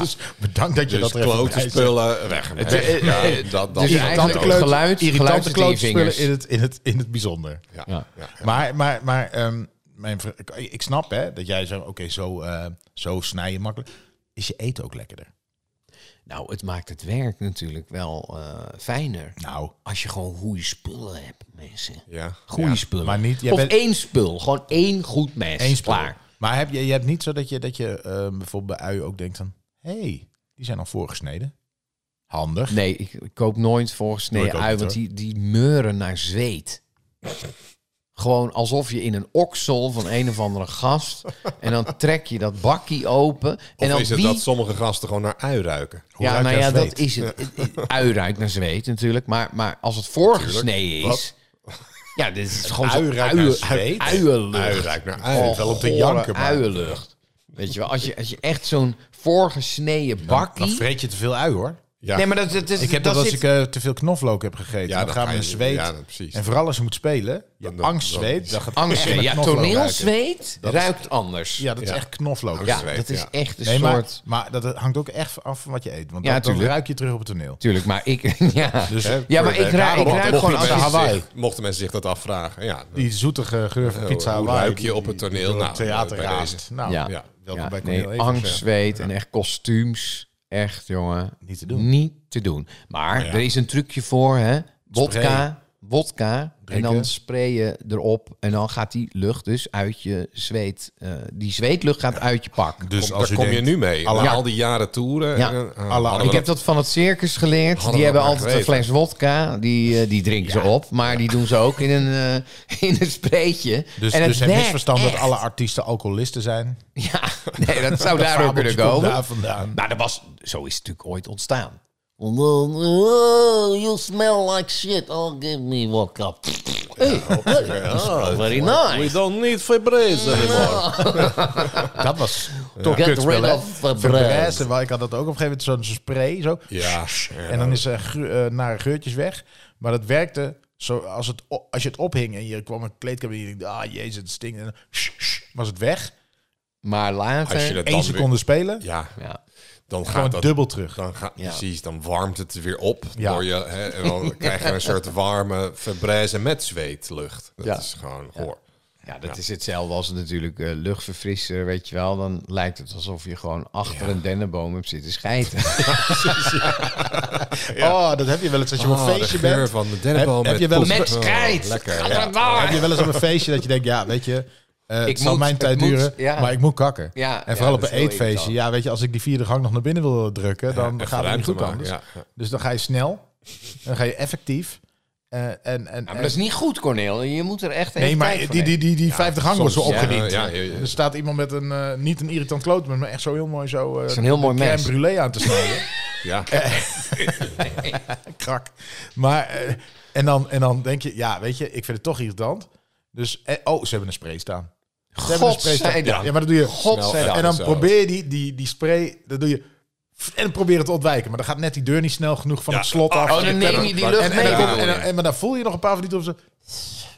Speaker 3: (laughs) Dus bedankt dat je
Speaker 2: Dus
Speaker 3: dat er even
Speaker 2: klote
Speaker 3: bij zegt.
Speaker 2: spullen, weg. ermee.
Speaker 4: eh,
Speaker 2: Ja,
Speaker 4: eh,
Speaker 2: dat, dat
Speaker 4: dus
Speaker 2: is eigenlijk
Speaker 4: eigenlijk
Speaker 3: irritante
Speaker 2: ook-
Speaker 3: klote,
Speaker 4: geluid- geluid
Speaker 3: irritante
Speaker 4: zit in je
Speaker 3: klote spullen
Speaker 4: vingers.
Speaker 3: in het, in, het, in het bijzonder.
Speaker 2: Ja,
Speaker 4: Ja.
Speaker 2: ja.
Speaker 3: Maar, maar, maar ehm, mijn vri- ik- ik snap hè, dat jij zo, oké, zo, eh zo snij je makkelijk. Is je eten ook lekkerder?
Speaker 4: Nou, het maakt het werk natuurlijk wel eh, fijner.
Speaker 3: Nou,
Speaker 4: Als je gewoon goede spullen hebt, mensen.
Speaker 2: Ja.
Speaker 4: Goede spullen.
Speaker 3: maar niet- jij
Speaker 4: of
Speaker 3: bent-
Speaker 4: één spul. Gewoon één goed mes.
Speaker 3: één spul.
Speaker 4: Klaar.
Speaker 3: Maar heb je, je hebt niet zo dat je, dat je ehm, bijvoorbeeld bij uien ook denkt van... Hé, hey, die zijn al voorgesneden. Handig.
Speaker 4: Nee, ik, ik koop nooit
Speaker 3: Doe ik
Speaker 4: voorgesneden
Speaker 3: ook
Speaker 4: ui,
Speaker 3: niet,
Speaker 4: want die, die meuren naar zweet. Gewoon alsof je in een oksel van een of andere gast... en dan trek je dat bakkie open. en
Speaker 2: Of
Speaker 4: dan
Speaker 2: is het
Speaker 4: die-
Speaker 2: dat sommige gasten gewoon naar ui ruiken?
Speaker 4: ja,
Speaker 3: ruikt
Speaker 4: nou
Speaker 3: naar
Speaker 4: ja,
Speaker 3: zweet?
Speaker 4: dat is het. Ui ruikt naar zweet natuurlijk, maar, maar als het voorgesneden is... Ja, dit is gewoon
Speaker 3: Ui
Speaker 4: zo'n
Speaker 3: ruikt naar zweet?
Speaker 4: uienlucht.
Speaker 2: Ui ruikt naar ui.
Speaker 4: Oh,
Speaker 3: wel om te
Speaker 4: gore
Speaker 3: janken, maar-
Speaker 4: uienlucht. Weet je wel, als je, als je echt zo'n voorgesneden
Speaker 3: Dan
Speaker 4: bakkie...
Speaker 3: vreet je te veel ui hoor.
Speaker 2: Ja.
Speaker 4: nee, maar dat, dat is...
Speaker 3: Ik heb dat, als
Speaker 4: zit-
Speaker 3: ik eh, te veel knoflook heb gegeten.
Speaker 2: Dus Ja,
Speaker 3: dan,
Speaker 2: dan
Speaker 3: gaat
Speaker 2: ga
Speaker 3: mijn
Speaker 2: je-
Speaker 3: zweet...
Speaker 2: ja, dat- precies.
Speaker 3: En vooral als je moet spelen. Je
Speaker 2: Dan- dan-
Speaker 3: angstzweet.
Speaker 2: dan-
Speaker 3: Dan gaat
Speaker 4: Angst,
Speaker 3: echt naar
Speaker 4: ja,
Speaker 3: knoflook ruiken.
Speaker 4: toneelzweet
Speaker 3: Dat is-
Speaker 4: ruikt anders. Ja,
Speaker 3: Ja, dat is
Speaker 2: Ja.
Speaker 3: echt knoflook.
Speaker 2: Ja. zweet,
Speaker 4: dat is
Speaker 2: ja.
Speaker 4: echt een
Speaker 3: Nee, maar,
Speaker 4: soort...
Speaker 3: maar dat hangt ook echt af van wat je eet. Want
Speaker 4: Ja,
Speaker 3: dan, dan
Speaker 4: tuurlijk.
Speaker 3: ruik je terug op het toneel.
Speaker 4: Tuurlijk, maar ik... (laughs) Ja,
Speaker 3: Dus
Speaker 4: ja maar ik ruik, ik
Speaker 2: Daarom
Speaker 4: ruik
Speaker 2: mochten
Speaker 4: gewoon als
Speaker 2: mensen
Speaker 4: je-
Speaker 3: Hawaii.
Speaker 2: zich- Mochten mensen zich dat afvragen. Ja,
Speaker 3: die zoetige geur van
Speaker 2: Hoe-
Speaker 3: pizza
Speaker 2: Oh, hoe
Speaker 3: Hawaii,
Speaker 2: ruik je
Speaker 3: die-
Speaker 2: op het
Speaker 3: die
Speaker 2: toneel?
Speaker 3: door het
Speaker 2: Nou,
Speaker 3: theater
Speaker 2: bij
Speaker 3: raast.
Speaker 2: deze.
Speaker 3: Nou,
Speaker 4: Ja.
Speaker 2: Ja.
Speaker 3: welkom
Speaker 4: Ja,
Speaker 3: bij
Speaker 4: nee,
Speaker 3: Cornel
Speaker 4: angst,
Speaker 3: Evers, ja.
Speaker 4: zweet en echt kostuums. Echt, jongen.
Speaker 3: Niet te doen. Nou
Speaker 4: Niet te doen. Maar er is een trucje voor, hè. Wodka. Wodka. En
Speaker 3: Drinken.
Speaker 4: dan spray je erop. En dan gaat die lucht dus uit je zweet. eh, die zweetlucht gaat uit je pak.
Speaker 3: Dus
Speaker 2: Daar
Speaker 3: als u
Speaker 2: kom je
Speaker 3: denkt,
Speaker 2: nu mee. Na
Speaker 4: Ja.
Speaker 2: al die jaren toeren.
Speaker 4: Ja.
Speaker 2: en, eh,
Speaker 3: Alla-
Speaker 2: hadden we
Speaker 4: Ik heb dat van het circus geleerd.
Speaker 2: Hadden we
Speaker 4: die hebben
Speaker 2: maar
Speaker 4: altijd een
Speaker 2: geweten.
Speaker 4: fles wodka. Die, eh, die drinken ze op. Maar die doen ze ook in een, eh, (laughs) in een spreetje.
Speaker 3: Dus,
Speaker 4: en het
Speaker 3: dus het
Speaker 4: werkt
Speaker 3: misverstand dat
Speaker 4: echt.
Speaker 3: alle artiesten alcoholisten zijn.
Speaker 4: Ja, nee,
Speaker 3: (laughs)
Speaker 4: dat zou daar ook
Speaker 3: Fabeltje
Speaker 4: kunnen
Speaker 3: komt
Speaker 4: komen.
Speaker 3: Daar
Speaker 2: (laughs)
Speaker 3: vandaan.
Speaker 4: Maar Nou, dat was, zo is het natuurlijk ooit ontstaan.
Speaker 6: Whoa, you smell like shit. Oh, give me one cup.
Speaker 2: Oh,
Speaker 4: Very nice.
Speaker 2: don't need Febreze anymore.
Speaker 3: Dat was toch
Speaker 6: Get
Speaker 3: kutspel,
Speaker 6: rid
Speaker 3: hè?
Speaker 6: of the
Speaker 3: Verbrassen, want Ik had dat ook op een gegeven moment zo'n zo'n spray. Zo.
Speaker 2: Ja.
Speaker 3: En dan is er geur- eh, nare geurtjes weg. Maar dat werkte zo als, het, o- als je het ophing en je kwam een kleedkamer en je dacht, ah jezus, het stinkt. En dan sh- sh- was het weg.
Speaker 4: Maar later...
Speaker 2: Als je dat
Speaker 3: Eén
Speaker 2: dan
Speaker 3: seconde spelen,
Speaker 2: weer- Ja,
Speaker 4: Ja.
Speaker 2: dan gaat
Speaker 3: gewoon
Speaker 2: dat...
Speaker 3: dubbel terug.
Speaker 2: Dan gaat,
Speaker 4: Ja.
Speaker 2: Precies, dan warmt het weer op.
Speaker 3: Ja.
Speaker 2: Door je, hè, en dan krijg je een soort warme Febreze met zweetlucht. Dat
Speaker 4: Ja.
Speaker 2: is gewoon hoor.
Speaker 4: Ja, dat is hetzelfde als natuurlijk eh, luchtverfrisser, weet je wel. Dan lijkt het alsof je gewoon achter een dennenboom hebt zitten schijten.
Speaker 3: Oh, dat heb je wel eens als je op
Speaker 2: Oh,
Speaker 3: een
Speaker 2: de
Speaker 3: feestje
Speaker 2: geur
Speaker 3: bent.
Speaker 2: van de dennenboom
Speaker 3: Heb- heb je wel eens-
Speaker 2: poep.
Speaker 4: (laughs) Met schijt.
Speaker 2: Oh, lekker, ja.
Speaker 3: Heb je wel eens op een feestje dat je denkt, ja, weet je, eh het
Speaker 4: Ah. Ik
Speaker 3: zal
Speaker 4: moet,
Speaker 3: mijn
Speaker 4: het
Speaker 3: tijd
Speaker 4: moet,
Speaker 3: duren,
Speaker 4: ja.
Speaker 3: maar ik moet kakken.
Speaker 4: Ja,
Speaker 3: en vooral
Speaker 4: ja,
Speaker 3: op
Speaker 4: dat
Speaker 3: een
Speaker 4: is heel
Speaker 3: eetfeestje,
Speaker 4: irritant.
Speaker 3: ja, weet je, als ik die vierde gang nog naar binnen wil drukken, dan
Speaker 2: en
Speaker 3: gaat het
Speaker 2: ruimte
Speaker 3: niet goed
Speaker 2: maken,
Speaker 3: anders.
Speaker 2: ja, ja.
Speaker 3: Dus dan ga je snel, dan ga je effectief. eh, en, en,
Speaker 4: Ja, maar dat is niet goed, Cornel. Je moet er echt
Speaker 3: Nee,
Speaker 4: even
Speaker 3: maar
Speaker 4: tijd
Speaker 3: die,
Speaker 4: voor
Speaker 3: die, die,
Speaker 4: nemen.
Speaker 3: die, vijfde gang
Speaker 2: soms,
Speaker 3: wordt zo
Speaker 2: ja,
Speaker 3: opgediend.
Speaker 2: ja, ja, ja.
Speaker 3: Er staat iemand met een, eh, niet een irritant kloot, maar echt zo heel mooi zo... eh
Speaker 4: Zo'n heel mooi
Speaker 3: de crème
Speaker 4: mes.
Speaker 3: brûlée aan te snijden. (laughs)
Speaker 2: Ja.
Speaker 3: Krak. Maar, eh, en, dan, en dan denk je, ja, weet je, ik vind het toch irritant. Dus, eh, oh, ze hebben een spray staan. Ze hebben dus een spray staan.
Speaker 4: Godzijdank.
Speaker 3: Ja, maar dat doe je.
Speaker 4: Godzijdank.
Speaker 3: En dan
Speaker 2: Zo.
Speaker 3: probeer je die, die, die spray, dat doe je... En probeer het te ontwijken, maar dan gaat net die deur niet snel genoeg van het slot af.
Speaker 4: oh, dan neem je die
Speaker 3: En-
Speaker 4: lucht
Speaker 3: en,
Speaker 4: mee,
Speaker 3: En,
Speaker 4: bedoel
Speaker 3: en,
Speaker 4: je?
Speaker 3: en- maar dan voel je nog een paar van die of ze.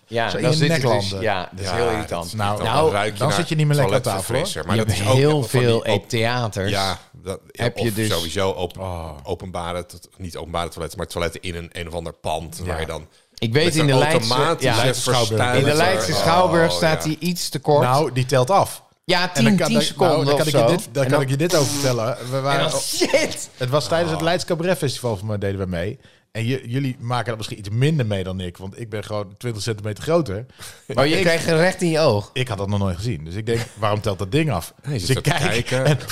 Speaker 4: Ja,
Speaker 3: Zo in
Speaker 4: dan
Speaker 3: je
Speaker 4: zit
Speaker 3: nek
Speaker 4: het dus-
Speaker 3: landen.
Speaker 4: ja, dat is
Speaker 2: Ja,
Speaker 4: heel
Speaker 2: dat
Speaker 4: irritant.
Speaker 2: is
Speaker 3: Nou,
Speaker 2: Dan ruik je
Speaker 3: dan
Speaker 2: naar
Speaker 3: zit je niet meer lekker op tafel. hoor.
Speaker 2: toiletverfrisser.
Speaker 4: je hebt
Speaker 2: dat is ook
Speaker 4: heel
Speaker 2: van die
Speaker 4: veel
Speaker 2: op-
Speaker 4: eh, theaters.
Speaker 2: Ja, dat, ja,
Speaker 4: Heb je
Speaker 2: of
Speaker 4: dus- Oh.
Speaker 2: sowieso op, openbare, tot- niet openbare toiletten, maar toiletten in een, een of ander pand waar je dan...
Speaker 4: Ik weet
Speaker 2: met
Speaker 4: in
Speaker 2: een
Speaker 4: de Leidse,
Speaker 2: automatische
Speaker 4: ja,
Speaker 2: verstuiver-
Speaker 4: in de Leidse
Speaker 2: Oh,
Speaker 4: Schouwburg staat
Speaker 2: ja.
Speaker 4: hij iets te kort.
Speaker 3: Nou, die telt af.
Speaker 4: ja,
Speaker 3: En dan
Speaker 4: 10
Speaker 3: kan,
Speaker 4: 10
Speaker 3: dan-
Speaker 4: seconden
Speaker 3: nou, dan kan
Speaker 4: of
Speaker 3: ik
Speaker 4: zo.
Speaker 3: je dit, dan
Speaker 4: En
Speaker 3: kan ik je dit over vertellen. We waren,
Speaker 4: Shit!
Speaker 3: het was tijdens
Speaker 4: Oh.
Speaker 3: het Leids Cabaret Festival van mij deden we mee. En j- jullie maken dat misschien iets minder mee dan ik, want ik ben gewoon 20 centimeter groter.
Speaker 4: Oh, je kreeg een recht in je oog.
Speaker 3: Ik had dat nog nooit gezien. Dus ik denk, waarom telt dat ding af?
Speaker 2: Nee, je
Speaker 3: dus
Speaker 2: zit
Speaker 3: ik
Speaker 2: zo te kijken. (laughs)
Speaker 3: en-
Speaker 4: (laughs)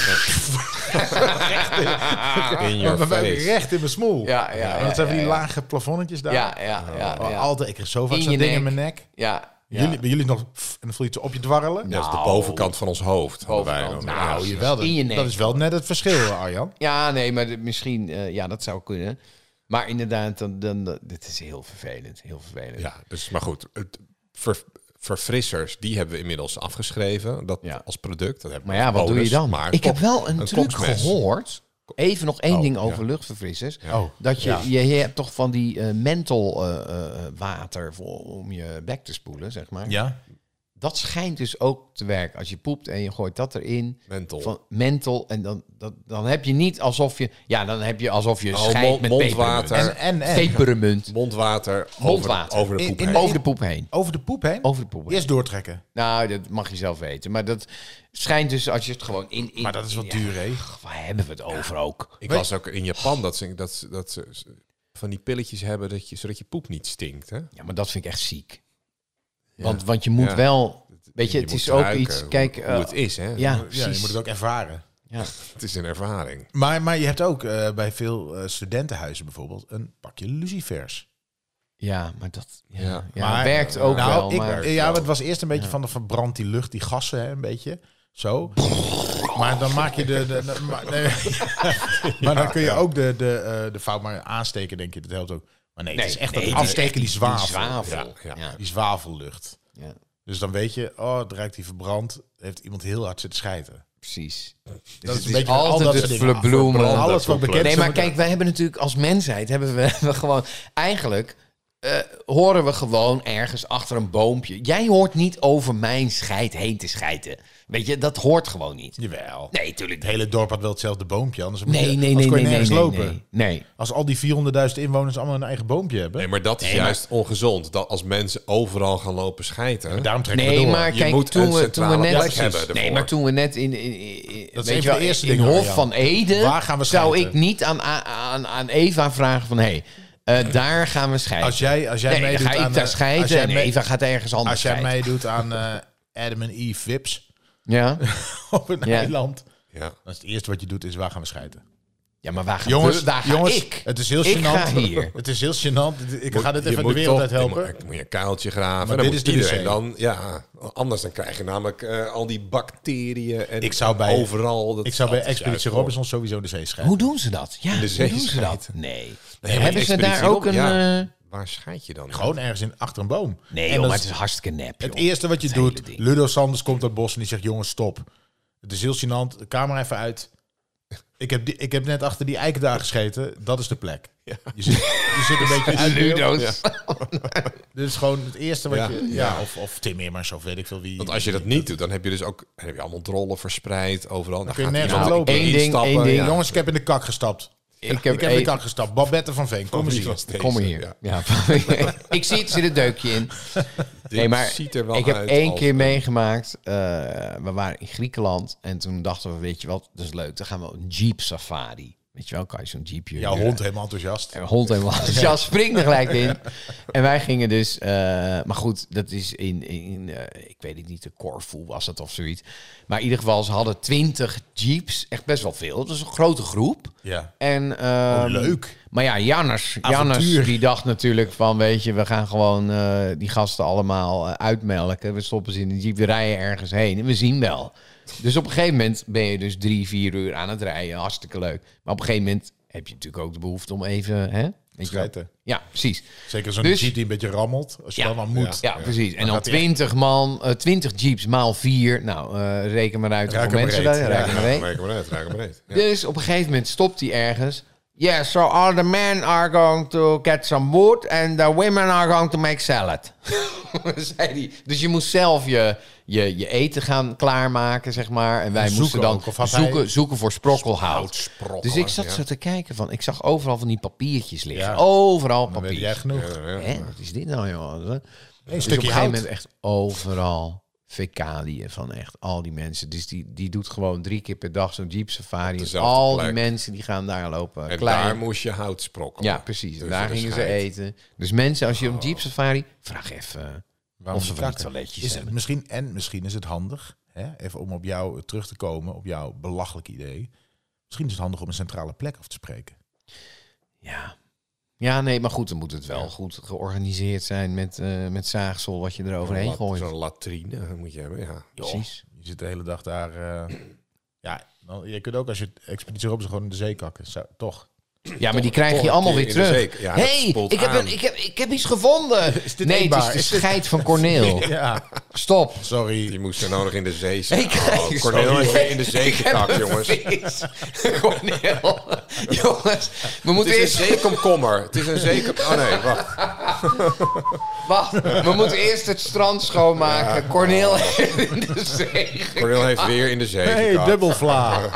Speaker 2: In your
Speaker 3: maar bij-
Speaker 2: face.
Speaker 3: recht in mijn smoel.
Speaker 4: Ja, ja,
Speaker 3: en dat zijn
Speaker 4: ja,
Speaker 3: van die
Speaker 4: ja, ja.
Speaker 3: lage plafonnetjes daar.
Speaker 4: Ja, ja, ja.
Speaker 3: Oh,
Speaker 4: ja.
Speaker 3: Altijd, ik kreeg zo vaak
Speaker 4: In
Speaker 3: zo'n
Speaker 4: je
Speaker 3: ding in
Speaker 4: nek.
Speaker 3: mijn nek.
Speaker 4: Ja, ja.
Speaker 3: Jullie, bij jullie nog, pff, en dan voel je het zo op je dwarrelen.
Speaker 2: Ja, dat is de bovenkant van ons hoofd. hadden wij
Speaker 4: Nou. Bovenkant.
Speaker 2: dan.
Speaker 4: Nou,
Speaker 2: Ja, dus-
Speaker 4: je-
Speaker 3: Jawel, dat,
Speaker 4: In je nek.
Speaker 3: dat is wel dus. net het verschil, eh, Arjan.
Speaker 4: Ja, nee, maar dit- misschien, eh, ja, dat zou kunnen. Maar inderdaad, dan, dan, dan- dit is heel vervelend, heel vervelend.
Speaker 2: Ja, dus, maar goed. Het, ver- verfrissers, die hebben we inmiddels afgeschreven dat,
Speaker 4: Ja.
Speaker 2: als product. Dat hebben
Speaker 4: Maar
Speaker 2: we
Speaker 4: ja,
Speaker 2: als
Speaker 4: wat doe je
Speaker 2: bonus,
Speaker 4: dan?
Speaker 2: Oh, dus maar
Speaker 4: ik heb
Speaker 2: kop-
Speaker 4: wel een, truc
Speaker 2: kopmes.
Speaker 4: gehoord. Even nog één ding over
Speaker 2: ja.
Speaker 4: luchtverfrissers.
Speaker 3: Oh,
Speaker 4: Dat je,
Speaker 3: ja.
Speaker 4: je, je hebt toch van die eh menthol eh, eh, water voor, om je bek te spoelen, zeg maar.
Speaker 3: Ja.
Speaker 4: Dat schijnt dus ook te werken. Als je poept en je gooit dat erin.
Speaker 2: Menthol.
Speaker 4: Van menthol. En dan, dat, dan heb je niet alsof je... Ja, dan heb je alsof je
Speaker 2: Oh,
Speaker 4: scheidt
Speaker 2: mond-
Speaker 4: met
Speaker 2: mondwater.
Speaker 4: pepermunt.
Speaker 3: En, en, en. (laughs)
Speaker 4: Pepermunt.
Speaker 2: Mondwater,
Speaker 4: Mondwater.
Speaker 2: Over, over de
Speaker 3: In-
Speaker 2: poep
Speaker 3: in-
Speaker 2: heen.
Speaker 4: Over de poep heen.
Speaker 3: Over de poep heen?
Speaker 4: Over de poep heen.
Speaker 3: Eerst doortrekken.
Speaker 4: Nou, dat mag je zelf weten. Maar dat schijnt dus als je het gewoon in... in
Speaker 3: Maar dat is wat
Speaker 4: ja,
Speaker 3: duur, hè?
Speaker 4: Waar hebben we het over ook?
Speaker 2: Ik was ook in Japan dat ze, dat, ze- dat ze van die pilletjes hebben dat je, zodat je poep niet stinkt. Hè?
Speaker 4: Ja, maar dat vind ik echt ziek. Want, want je moet wel... Weet je, het
Speaker 2: moet
Speaker 4: is ook
Speaker 2: ruiken
Speaker 4: iets...
Speaker 2: hoe-
Speaker 4: Kijk,
Speaker 2: hoe,
Speaker 4: eh,
Speaker 2: het is, hè?
Speaker 4: ja,
Speaker 3: Ja, je
Speaker 4: precies.
Speaker 3: moet het ook ervaren.
Speaker 4: Ja.
Speaker 2: Het is een ervaring.
Speaker 3: Maar, maar je hebt ook eh, bij veel eh, studentenhuizen bijvoorbeeld een pakje lucifers.
Speaker 4: Ja, maar dat ja,
Speaker 2: Ja.
Speaker 4: ja.
Speaker 3: Maar-
Speaker 4: werkt ook
Speaker 3: nou,
Speaker 4: wel.
Speaker 3: ik,
Speaker 4: maar,
Speaker 3: ja, maar het was eerst een beetje van de verbrand die lucht, die gassen, hè, een beetje. Zo. Maar dan maak je de. de,
Speaker 4: (laughs)
Speaker 3: de- maar, nee. (laughs) maar dan kun je ook de, de, eh, de fout maar aansteken, denk je. Dat helpt ook. Maar nee, het is echt
Speaker 4: nee,
Speaker 3: dat
Speaker 4: het is
Speaker 3: afsteken, die
Speaker 4: die
Speaker 3: zwavel.
Speaker 4: zwavel.
Speaker 2: Ja,
Speaker 4: Ja,
Speaker 2: ja.
Speaker 4: ja.
Speaker 3: Die zwavellucht.
Speaker 4: ja,
Speaker 3: Dus dan weet je, oh, het ruikt die verbrand. Heeft iemand heel hard zitten schijten.
Speaker 4: precies. Dus
Speaker 3: Dat
Speaker 4: het
Speaker 3: is een beetje al dat
Speaker 4: altijd
Speaker 3: soort
Speaker 4: het
Speaker 3: dingen.
Speaker 4: verbloemen.
Speaker 3: Alles wat bekend
Speaker 4: Nee,
Speaker 3: is.
Speaker 4: maar kijk, wij hebben natuurlijk als mensheid hebben we, (laughs) we gewoon eigenlijk eh, horen we gewoon ergens achter een boompje. Jij hoort niet over mijn scheid heen te schijten. Weet je, dat hoort gewoon niet.
Speaker 3: Jawel.
Speaker 4: Nee, tuurlijk.
Speaker 3: Het
Speaker 4: niet.
Speaker 3: hele dorp had wel hetzelfde boompje. Anders,
Speaker 4: Nee, nee, nee,
Speaker 3: anders kon
Speaker 4: nee,
Speaker 3: je
Speaker 4: nee,
Speaker 3: nergens
Speaker 4: nee,
Speaker 3: lopen.
Speaker 4: nee, nee.
Speaker 3: Als al die 400.000 inwoners allemaal een eigen boompje hebben.
Speaker 2: Nee, maar dat is juist ongezond. Dat als mensen overal gaan lopen schijten.
Speaker 3: daarom trekken we
Speaker 4: Nee,
Speaker 3: door.
Speaker 4: maar
Speaker 2: Je
Speaker 4: kijk,
Speaker 2: moet een
Speaker 4: toen we, toen we
Speaker 2: centrale plek
Speaker 4: net,
Speaker 2: hebben ervoor.
Speaker 4: nee, maar toen we net in, in, in-
Speaker 3: Dat is
Speaker 4: weet
Speaker 3: een
Speaker 4: je
Speaker 3: van
Speaker 4: wel,
Speaker 3: de eerste
Speaker 4: in
Speaker 3: dingen,
Speaker 4: Hof
Speaker 3: Arjan.
Speaker 4: van Eden
Speaker 3: Waar gaan we
Speaker 4: zou
Speaker 3: scheiden?
Speaker 4: ik niet aan, aan, aan Eva vragen van, hé, hey, eh, daar gaan we scheiden.
Speaker 3: Als jij, als jij
Speaker 4: nee, dan
Speaker 3: meedoet
Speaker 4: ga ik
Speaker 3: aan,
Speaker 4: daar
Speaker 3: eh,
Speaker 4: scheiden
Speaker 3: als jij
Speaker 4: en
Speaker 3: mee-
Speaker 4: Eva gaat ergens anders
Speaker 3: Als jij
Speaker 4: scheiden.
Speaker 3: meedoet aan eh, Adam en Eve Vips (laughs)
Speaker 4: Ja?
Speaker 3: op een
Speaker 4: Ja.
Speaker 3: eiland.
Speaker 2: Ja.
Speaker 3: Dan is het eerste wat je doet, is waar gaan we scheiden.
Speaker 4: ja, maar waar, gaan
Speaker 3: Jongens,
Speaker 4: we, daar ga
Speaker 3: jongens
Speaker 4: ik?
Speaker 3: het is heel
Speaker 4: Ik
Speaker 3: gênant.
Speaker 4: ga hier.
Speaker 3: (laughs) Het is heel gênant. Ik ga dit
Speaker 2: Je
Speaker 3: even de
Speaker 2: moet
Speaker 3: wereld
Speaker 2: toch-
Speaker 3: uit
Speaker 2: Je
Speaker 3: helpen.
Speaker 2: moet, moet je een kuiltje graven.
Speaker 3: Maar
Speaker 2: dan
Speaker 3: dit
Speaker 2: moet
Speaker 3: is de
Speaker 2: iedereen
Speaker 3: wc.
Speaker 2: dan. Ja, anders dan krijg je namelijk eh, al die bacteriën en
Speaker 3: Ik zou bij-
Speaker 2: overal. Dat
Speaker 3: Ik zou bij
Speaker 2: dat is
Speaker 3: Expeditie
Speaker 2: juist
Speaker 3: Robinson sowieso de zee scheiden.
Speaker 4: Hoe doen ze dat? Ja,
Speaker 2: de
Speaker 4: hoe
Speaker 2: zee
Speaker 4: doen ze dat?
Speaker 2: scheiden.
Speaker 4: Nee.
Speaker 2: Nee, maar
Speaker 4: Hebben ze
Speaker 2: Expeditie
Speaker 4: daar ook een...
Speaker 2: Robinson, ja.
Speaker 4: eh,
Speaker 2: Waar schijt je dan?
Speaker 3: Gewoon ergens in, achter een boom.
Speaker 4: Nee,
Speaker 3: En
Speaker 4: joh,
Speaker 3: dat
Speaker 4: maar het is hartstikke nep,
Speaker 3: Het
Speaker 4: joh.
Speaker 3: eerste wat je
Speaker 4: Het hele
Speaker 3: doet,
Speaker 4: ding.
Speaker 3: Ludo Sanders komt uit bos en die zegt: jongens, stop. Het is heel gênant. De camera even uit. Ik heb, die, ik heb net achter die eik daar gescheten. Dat is de plek. Je, zit, je zit een beetje uit.
Speaker 4: Ludo's.
Speaker 3: Dit is gewoon het eerste wat
Speaker 2: Ja.
Speaker 3: je. Ja, Of, of Tim Immers of weet ik veel wie.
Speaker 2: Want als je dat niet doet, dan heb je dus ook dan heb je allemaal drollen verspreid overal.
Speaker 3: kun
Speaker 2: Dan,
Speaker 3: je
Speaker 2: gaat
Speaker 3: nergens
Speaker 2: iemand
Speaker 3: op lopen.
Speaker 2: een keer
Speaker 4: Eén ding,
Speaker 2: instappen.
Speaker 4: één ding.
Speaker 2: Ja.
Speaker 3: Jongens, ik heb in de kak gestapt.
Speaker 4: ik heb,
Speaker 3: ik heb
Speaker 4: een-
Speaker 3: weer kan gestapt. Babette van Veen, kom eens
Speaker 2: Wie
Speaker 3: hier.
Speaker 2: was deze?
Speaker 4: Kom maar hier.
Speaker 2: Ja.
Speaker 4: (laughs) Ja. ik zie het, zit een deukje in.
Speaker 2: Dit ziet er wel
Speaker 4: ik heb
Speaker 2: uit
Speaker 4: één
Speaker 2: als
Speaker 4: keer
Speaker 2: een-
Speaker 4: meegemaakt. eh, we waren in Griekenland en toen dachten we, weet je wat, dat is leuk. Dan gaan we op een jeep safari. Weet je wel, kan je zo'n jeepje...
Speaker 3: Jouw hond helemaal enthousiast.
Speaker 4: En hond helemaal enthousiast springt Dus er gelijk
Speaker 3: (laughs)
Speaker 4: in. En wij gingen dus... eh, maar goed, dat is in... in eh, ik weet het niet, de Corfu was dat of zoiets. Maar in ieder geval, ze hadden twintig jeeps. Echt best wel veel. Dat is een grote groep.
Speaker 3: Ja.
Speaker 4: En, ehm,
Speaker 3: Oh, leuk.
Speaker 4: Maar ja, Jannes,
Speaker 3: Avontuur.
Speaker 4: Jannes die dacht natuurlijk van, weet je, we gaan gewoon eh, die gasten allemaal eh, uitmelken. We stoppen ze in de jeep, we rijden ergens heen en we zien wel. Dus op een gegeven moment ben je dus drie, vier uur aan het rijden. Hartstikke leuk. Maar op een gegeven moment heb je natuurlijk ook de behoefte om even... Hè, weet je wel.
Speaker 3: Schijten.
Speaker 4: Ja, precies.
Speaker 3: Zeker zo'n
Speaker 4: Dus-
Speaker 3: jeep die een beetje rammelt. Als je
Speaker 4: Ja.
Speaker 3: dan aan moet.
Speaker 4: Ja, precies. En dan
Speaker 3: gaat hij echt-
Speaker 4: 20 man, eh, 20 jeeps maal 4. Nou, eh, reken maar uit
Speaker 3: Raak
Speaker 4: hoeveel
Speaker 3: hem
Speaker 4: mensen
Speaker 3: breed.
Speaker 4: daar
Speaker 3: Ja,
Speaker 4: raak hem breed.
Speaker 2: Raak hem uit, raak hem uit. Ja.
Speaker 4: Dus op een gegeven moment stopt hij ergens. Yes, so all the men are going to get some wood and the women are going to make salad. (laughs) Zei hij. Dus je moest zelf je, je, je eten gaan klaarmaken, zeg maar. En wij
Speaker 3: Zoeken
Speaker 4: moesten dan
Speaker 3: ook, of had
Speaker 4: zoeken,
Speaker 3: hij-
Speaker 4: zoeken voor sprokkelhout.
Speaker 2: Sprokkel,
Speaker 4: dus ik zat
Speaker 2: ja.
Speaker 4: zo te kijken van, ik zag overal van die papiertjes liggen.
Speaker 3: Ja.
Speaker 4: Overal
Speaker 3: Dan weet jij
Speaker 4: papier.
Speaker 3: genoeg.
Speaker 4: Hè, wat is dit nou, jongen?
Speaker 3: Een
Speaker 4: Dus op
Speaker 3: stukje
Speaker 4: een gegeven
Speaker 3: hout.
Speaker 4: moment echt overal fecaliën van echt al die mensen. Dus die, die doet gewoon drie keer per dag zo'n jeep safari. En
Speaker 2: dezelfde
Speaker 4: al
Speaker 2: plek.
Speaker 4: die mensen die gaan daar lopen.
Speaker 2: En
Speaker 4: Klein.
Speaker 2: daar moest je hout sprokkelen.
Speaker 4: ja, precies. En
Speaker 2: Dus
Speaker 4: daar
Speaker 2: er is
Speaker 4: gingen ze
Speaker 2: scheid. Oh.
Speaker 4: eten. Dus mensen, als je op jeep safari, vraag even
Speaker 3: Waarom
Speaker 4: of ze
Speaker 3: die
Speaker 4: van die
Speaker 3: kakken?
Speaker 4: toiletjes
Speaker 3: is het
Speaker 4: hebben.
Speaker 3: misschien, En misschien is het handig, hè, even om op jou terug te komen, op jouw belachelijk idee. Misschien is het handig om een centrale plek af te spreken.
Speaker 4: Ja. Ja, nee, maar goed, dan moet het wel goed georganiseerd zijn met, eh, met zaagsel wat je er overheen
Speaker 2: Lat-
Speaker 4: gooit.
Speaker 2: Zo'n latrine moet je hebben, ja. (clears throat)
Speaker 4: Precies.
Speaker 3: Je zit de hele dag daar. eh, ja, dan- je kunt ook als je expeditie op gewoon in de zee kakken. Zo, toch?
Speaker 4: Ja, maar die krijg je
Speaker 2: een
Speaker 4: allemaal
Speaker 2: keer
Speaker 4: weer
Speaker 2: in de
Speaker 4: terug.
Speaker 2: zeek. Ja, dat
Speaker 4: hey,
Speaker 2: spoelt
Speaker 4: ik heb,
Speaker 2: aan.
Speaker 4: een, ik, heb, ik heb iets
Speaker 2: (laughs)
Speaker 4: gevonden.
Speaker 3: dit
Speaker 4: nee, het
Speaker 3: eetbaar?
Speaker 4: is de
Speaker 3: Is dit-
Speaker 4: scheid van Corneel.
Speaker 3: Ja,
Speaker 4: Stop.
Speaker 2: Die
Speaker 3: sorry.
Speaker 2: moest er nou nog in de zee
Speaker 4: (laughs) Hey,
Speaker 2: zitten.
Speaker 4: kijk,
Speaker 2: Oh, Cornel
Speaker 4: sorry.
Speaker 2: heeft weer in de zee
Speaker 4: Ik heb
Speaker 2: gekakt,
Speaker 4: een
Speaker 2: jongens. Het
Speaker 4: vis. (laughs) Cornel. jongens, we moeten
Speaker 2: is
Speaker 4: eerst...
Speaker 2: een zeekomkommer. Het is een zeekomkommer. Oh nee, wacht.
Speaker 4: Wacht, we moeten eerst het strand schoonmaken. Corneel (laughs) in de zee.
Speaker 2: Cornel heeft weer in de zee
Speaker 3: Hey,
Speaker 2: gekakt.
Speaker 3: dubbelvla.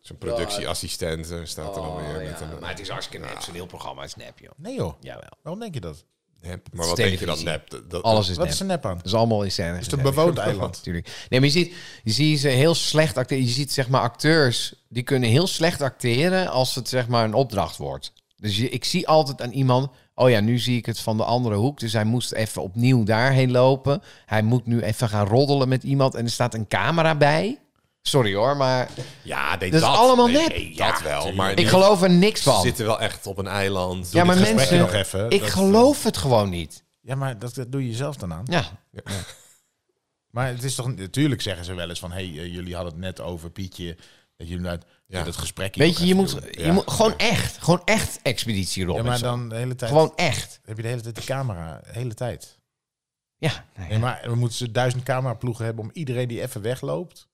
Speaker 2: Zo'n productieassistent eh, staat er dan weer Oh. met een
Speaker 4: Oh, Maar het is hartstikke nep. Het is een heel programma. Het is nep, joh.
Speaker 3: Nee joh.
Speaker 4: Jawel.
Speaker 3: Waarom denk je dat?
Speaker 2: nep. Maar wat denk je dat
Speaker 4: televisie.
Speaker 2: nep? Dat- dat-
Speaker 4: Alles is
Speaker 3: Wat
Speaker 4: nep.
Speaker 3: is er nep aan?
Speaker 4: Het is allemaal in scène. Het
Speaker 3: is een
Speaker 4: (laughs)
Speaker 3: bewoond eiland.
Speaker 4: Natuurlijk. Nee, maar je ziet, je ziet ze heel slecht acteren. Je ziet zeg maar acteurs die kunnen heel slecht acteren als het zeg maar een opdracht wordt. Dus je, ik zie altijd aan iemand. Oh ja, nu zie ik het van de andere hoek. Dus hij moest even opnieuw daarheen lopen. Hij moet nu even gaan roddelen met iemand. En er staat een camera bij. Sorry hoor, maar
Speaker 2: Ja, nee,
Speaker 4: Dat is allemaal
Speaker 2: nee,
Speaker 4: nep.
Speaker 2: nee, dat wel. Maar
Speaker 4: ik
Speaker 2: die
Speaker 4: geloof er niks van.
Speaker 2: zitten wel echt op een eiland.
Speaker 4: Ja, maar
Speaker 2: Doe dit
Speaker 3: gesprekje
Speaker 4: mensen,
Speaker 2: (laughs)
Speaker 3: nog even.
Speaker 4: ik
Speaker 3: Dat- eh,
Speaker 4: geloof het gewoon niet.
Speaker 3: Ja, maar dat, dat doe je jezelf dan aan.
Speaker 4: Ja,
Speaker 3: Maar het is toch natuurlijk zeggen ze wel eens van, hey, eh, jullie hadden het net over Pietje. Dat jullie uit
Speaker 2: Ja.
Speaker 3: dat gesprek. hier
Speaker 4: weet je,
Speaker 3: nog
Speaker 4: je
Speaker 3: even
Speaker 4: moet,
Speaker 3: doen.
Speaker 4: je moet gewoon echt, gewoon echt expeditie
Speaker 3: Ja,
Speaker 4: Robinson.
Speaker 3: maar dan de hele tijd.
Speaker 4: Gewoon echt.
Speaker 3: Heb je de hele tijd de camera, de hele tijd.
Speaker 4: Ja, nou ja.
Speaker 3: Nee, maar we moeten ze duizend cameraploegen hebben om iedereen die even wegloopt.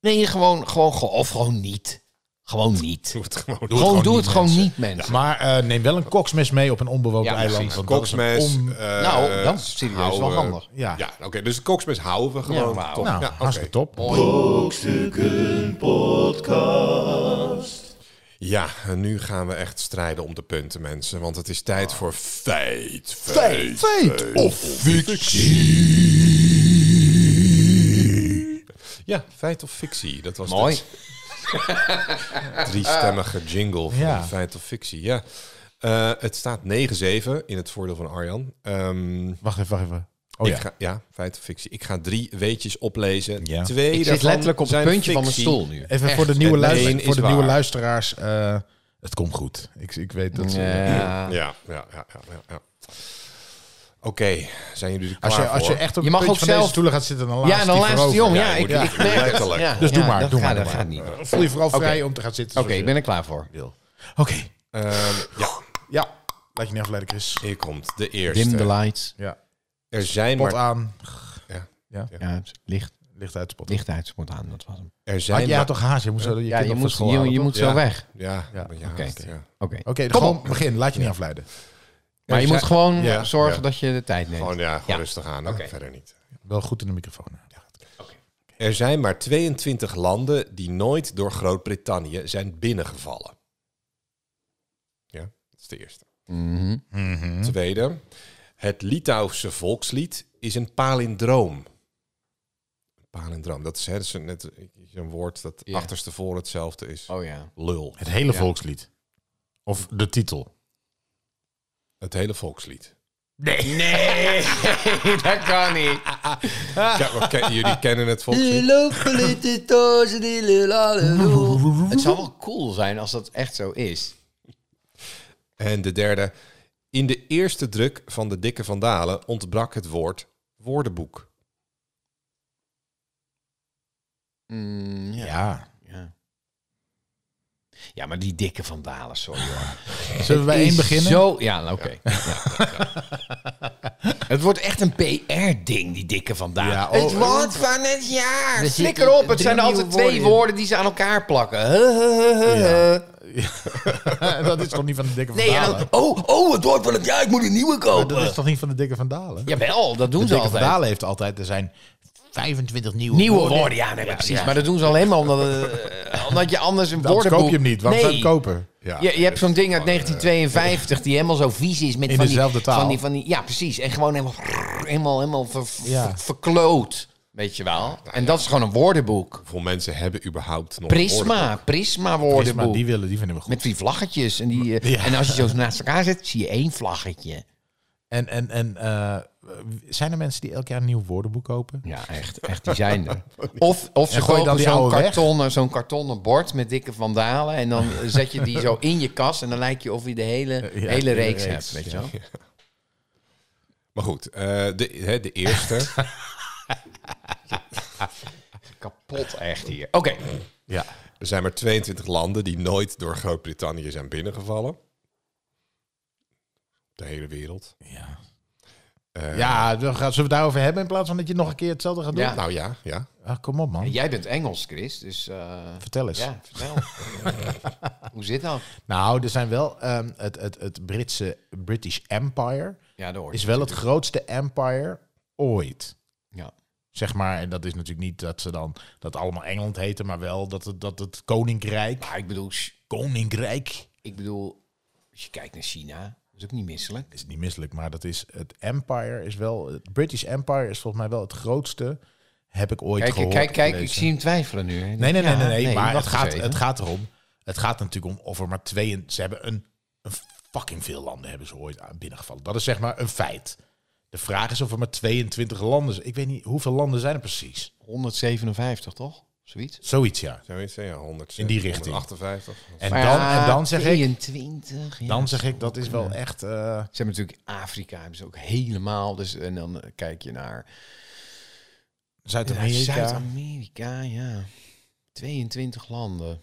Speaker 4: Nee, gewoon, gewoon, ge- of gewoon niet. Gewoon niet.
Speaker 2: Doe het gewoon.
Speaker 4: gewoon, doe
Speaker 3: niet,
Speaker 4: het gewoon
Speaker 3: mensen.
Speaker 4: niet, mensen.
Speaker 3: Maar eh, neem wel een koksmes mee op een onbewoond
Speaker 4: Ja,
Speaker 3: eiland.
Speaker 4: precies.
Speaker 3: want dat is een
Speaker 2: Koksmes.
Speaker 3: on-
Speaker 2: eh,
Speaker 4: nou, dat is serieus wel
Speaker 3: eh,
Speaker 2: houden.
Speaker 4: handig.
Speaker 3: Ja.
Speaker 2: Ja, oké. dus de koksmes houden we gewoon.
Speaker 4: wauw.
Speaker 2: Top.
Speaker 3: Nou,
Speaker 2: ja, oké.
Speaker 3: hartstikke top.
Speaker 2: Ja, en nu gaan we echt strijden om de punten, mensen. Want het is tijd voor feit. Feit.
Speaker 3: Feit, feit of
Speaker 2: fictie. Ja, feit of fictie. Dat was
Speaker 4: Mooi.
Speaker 2: de (laughs) driestemmige jingle van
Speaker 3: Ja.
Speaker 2: feit of fictie. Ja. Eh, het staat 9-7 in het voordeel van Arjan. Ehm,
Speaker 3: Wacht even, wacht even. Oh
Speaker 2: ik
Speaker 3: ja.
Speaker 2: Ga, ja, feit of fictie. Ik ga drie weetjes oplezen.
Speaker 3: Ja.
Speaker 2: Twee
Speaker 4: Ik zit
Speaker 2: daarvan
Speaker 4: letterlijk op het
Speaker 2: zijn
Speaker 4: puntje van mijn
Speaker 2: fictie.
Speaker 4: stoel nu.
Speaker 3: Even voor de nieuwe,
Speaker 2: En
Speaker 3: luister-
Speaker 2: één
Speaker 3: voor
Speaker 2: is
Speaker 3: de nieuwe
Speaker 2: waar.
Speaker 3: luisteraars. eh, het komt goed. Ik, ik weet dat. ze-
Speaker 4: Ja.
Speaker 2: Ja, ja, ja, ja. ja, ja. Oké, zijn jullie er klaar
Speaker 3: Als, je,
Speaker 2: voor?
Speaker 3: als je echt op
Speaker 4: Je
Speaker 3: je mag
Speaker 4: mag
Speaker 3: van
Speaker 4: ook zelf-
Speaker 3: deze stoelen gaat zitten, dan laat
Speaker 4: Ja, en dan laatste jong. Ja, ik,
Speaker 2: Ja,
Speaker 4: ik merk het.
Speaker 2: letterlijk.
Speaker 4: Ja,
Speaker 3: Dus doe
Speaker 4: ja,
Speaker 3: maar,
Speaker 4: Dat,
Speaker 3: doe
Speaker 4: gaat,
Speaker 3: maar,
Speaker 4: dat
Speaker 3: doe
Speaker 4: gaat
Speaker 3: maar.
Speaker 4: niet. Oké,
Speaker 3: Voel je vooral vrij om te gaan zitten. zoals
Speaker 4: ik
Speaker 3: je
Speaker 4: ben Eh, er klaar voor.
Speaker 3: wil. Oké.
Speaker 2: Ehm, ja,
Speaker 3: Ja. Laat je niet afleiden, Chris.
Speaker 2: hier komt de eerste.
Speaker 4: Dim the lights.
Speaker 3: Ja.
Speaker 2: Er zijn
Speaker 3: Pot
Speaker 2: maar...
Speaker 3: aan.
Speaker 4: Ja, licht,
Speaker 3: Licht uit, spot.
Speaker 4: licht uit, moet aan. Dat was hem.
Speaker 2: Er
Speaker 3: Had
Speaker 2: zijn
Speaker 3: je had
Speaker 2: maar-
Speaker 3: toch haast? Je moet zo je
Speaker 4: Ja,
Speaker 3: kind
Speaker 4: je
Speaker 3: op
Speaker 4: moet,
Speaker 3: school
Speaker 4: je,
Speaker 3: halen,
Speaker 4: je
Speaker 3: toch?
Speaker 4: moet zo
Speaker 2: Ja.
Speaker 4: weg. Oké.
Speaker 2: Ja, ja. ja,
Speaker 4: Oké.
Speaker 2: ja.
Speaker 3: Oké,
Speaker 4: Kom
Speaker 3: gewoon
Speaker 4: op.
Speaker 3: begin. Laat je niet afleiden.
Speaker 4: Maar je moet gewoon
Speaker 2: Ja,
Speaker 4: zorgen
Speaker 2: ja.
Speaker 4: dat je de tijd neemt.
Speaker 2: Gewoon, ja, gewoon
Speaker 4: Ja.
Speaker 2: rustig aan. hè.
Speaker 4: Oké.
Speaker 2: Verder niet.
Speaker 3: Wel goed in de microfoon. hè.
Speaker 2: Er zijn maar 22 landen die nooit door Groot-Brittannië zijn binnengevallen. Ja, dat is de eerste.
Speaker 3: Mhm.
Speaker 4: Hm.
Speaker 2: Tweede, het Litouwse volkslied is een palindroom. Palindroom, dat is, hè, dat is een- net een woord dat
Speaker 4: Ja.
Speaker 2: achterstevoren hetzelfde is.
Speaker 4: Oh ja.
Speaker 2: Lul.
Speaker 3: Het hele (laughs) volkslied. Of de titel.
Speaker 2: Het hele volkslied.
Speaker 4: Nee, dat kan niet. Ah.
Speaker 2: Ja, maar ken- jullie kennen het
Speaker 4: (laughs)
Speaker 2: volkslied.
Speaker 4: Het zou wel cool zijn als dat echt zo is.
Speaker 2: En de derde. In de eerste druk van de Dikke Vandalen ontbrak het woord woordenboek.
Speaker 4: Mm, ja.
Speaker 3: Ja.
Speaker 4: Ja. ja, maar die dikke vandalen, sorry hoor.
Speaker 3: Zullen we bij één
Speaker 4: Is
Speaker 3: beginnen?
Speaker 4: Zo, ja, nou, oké. Ja. Het wordt echt een PR-ding, die dikke vandalen.
Speaker 3: Ja, oh,
Speaker 4: het woord van het jaar.
Speaker 6: Er
Speaker 4: Flikker
Speaker 6: zitten
Speaker 4: op, het
Speaker 6: drie
Speaker 4: zijn altijd
Speaker 6: nieuwe
Speaker 4: twee
Speaker 6: woorden.
Speaker 4: woorden die ze aan elkaar plakken. Huh, huh, huh, huh, huh.
Speaker 3: dat is toch niet van de dikke
Speaker 4: Nee, en
Speaker 3: vandalen?
Speaker 4: dan- oh, oh, het woord van het jaar, ik moet een nieuwe
Speaker 3: dat
Speaker 4: kopen.
Speaker 3: is toch niet van de dikke vandalen?
Speaker 4: oh, Jawel, dat doen
Speaker 3: de
Speaker 4: ze
Speaker 3: dikke
Speaker 4: altijd.
Speaker 3: vandalen heeft altijd, er zijn 25 nieuwe,
Speaker 4: Nieuwe woorden, ja, nee, maar precies.
Speaker 3: ja.
Speaker 4: Maar dat doen ze alleen maar omdat, eh, omdat je anders een
Speaker 3: Anders
Speaker 4: woordenboek...
Speaker 3: koop je hem niet. Waarom
Speaker 4: nee.
Speaker 3: zou je hem kopen?
Speaker 2: Ja,
Speaker 4: je, je hebt zo'n ding uit 1952 die helemaal zo vies is met
Speaker 3: eh, In
Speaker 4: van
Speaker 3: dezelfde
Speaker 4: die,
Speaker 3: taal.
Speaker 4: Van die, van die, ja, precies. En gewoon helemaal, helemaal, helemaal ver- ver-
Speaker 3: Ja.
Speaker 4: verkloot. Weet je wel. En dat is gewoon een woordenboek.
Speaker 2: Hoeveel mensen hebben überhaupt nog een woordenboek?
Speaker 4: Prisma, Prisma
Speaker 3: Prisma,
Speaker 4: woordenboek.
Speaker 3: die willen, die vinden we goed.
Speaker 4: Met die vlaggetjes. En, die, eh,
Speaker 3: Ja.
Speaker 4: en als je zo naast elkaar zet, zie je één vlaggetje.
Speaker 3: En, en, en eh, zijn er mensen die elk jaar een nieuw woordenboek kopen?
Speaker 4: Ja, echt. echt die zijn (laughs) er. Of, of ze
Speaker 3: En gooi je dan
Speaker 4: kopen
Speaker 3: die
Speaker 4: zo'n
Speaker 3: oude weg?
Speaker 4: kartonnen, zo'n kartonnen bord met dikke vandalen. En dan eh, zet je die zo in je kast. En dan lijkt je of je de hele,
Speaker 3: Eh, ja,
Speaker 4: hele
Speaker 3: de
Speaker 4: reeks,
Speaker 3: reeks,
Speaker 4: hebt. Weet je
Speaker 3: ja.
Speaker 4: wel?
Speaker 2: Maar goed, eh, de, hè, de
Speaker 3: (laughs)
Speaker 2: eerste.
Speaker 4: Kapot echt hier. Oké.
Speaker 3: Ja.
Speaker 2: er zijn maar 22 landen die nooit door Groot-Brittannië zijn binnengevallen. De hele wereld.
Speaker 3: Ja,
Speaker 2: Eh,
Speaker 3: ja dan gaan, zullen we het daarover hebben in plaats van dat je nog een keer hetzelfde gaat doen?
Speaker 4: Ja.
Speaker 2: Nou ja, ja.
Speaker 3: Ah, kom op, man.
Speaker 4: Jij bent Engels, Chris, dus... eh,
Speaker 3: Vertel eens.
Speaker 4: Ja, vertel.
Speaker 3: (laughs)
Speaker 4: Hoe zit dat?
Speaker 3: Nou, er zijn wel ehm, het, het, het Britse British Empire
Speaker 4: Ja, dat hoor
Speaker 3: is
Speaker 4: je.
Speaker 3: wel het grootste empire ooit.
Speaker 4: Ja.
Speaker 3: Zeg maar, en dat is natuurlijk niet dat ze dan dat allemaal Engeland heten, maar wel dat het, dat het Koninkrijk.
Speaker 4: Maar ik bedoel, sh-
Speaker 3: Koninkrijk
Speaker 4: ik bedoel, als je kijkt naar China, dat is ook niet misselijk.
Speaker 3: is niet misselijk, maar dat is het Empire is wel het British Empire is volgens mij wel het grootste heb ik ooit
Speaker 4: Kijk,
Speaker 3: gehoord.
Speaker 4: kijk, kijk, ik
Speaker 3: gelezen.
Speaker 4: zie hem twijfelen nu. hè.
Speaker 3: Nee, nee, nee,
Speaker 4: Ja,
Speaker 3: nee, nee, maar het
Speaker 4: wacht
Speaker 3: gaat,
Speaker 4: eens even.
Speaker 3: het gaat erom. Het gaat er natuurlijk om of er maar twee. en- Ze hebben een, een fucking veel landen hebben ze ooit aan- binnengevallen. Dat is zeg maar een feit. De vraag is of er maar 22 landen zijn. Ik weet niet hoeveel landen zijn er precies.
Speaker 4: 157, toch? Zoiets.
Speaker 3: Zoiets ja.
Speaker 2: Zoiets, hè, ja, 100.
Speaker 3: In die richting.
Speaker 2: 158.
Speaker 3: En dan, en dan zeg ik,
Speaker 4: 22, ja.
Speaker 3: dan zeg ik dat is wel echt. eh,
Speaker 4: Ze hebben natuurlijk Afrika, hebben ze ook helemaal. Dus, en dan eh, kijk je naar
Speaker 3: Zuid-Amerika.
Speaker 4: Zuid-Amerika, ja. 22 landen. Het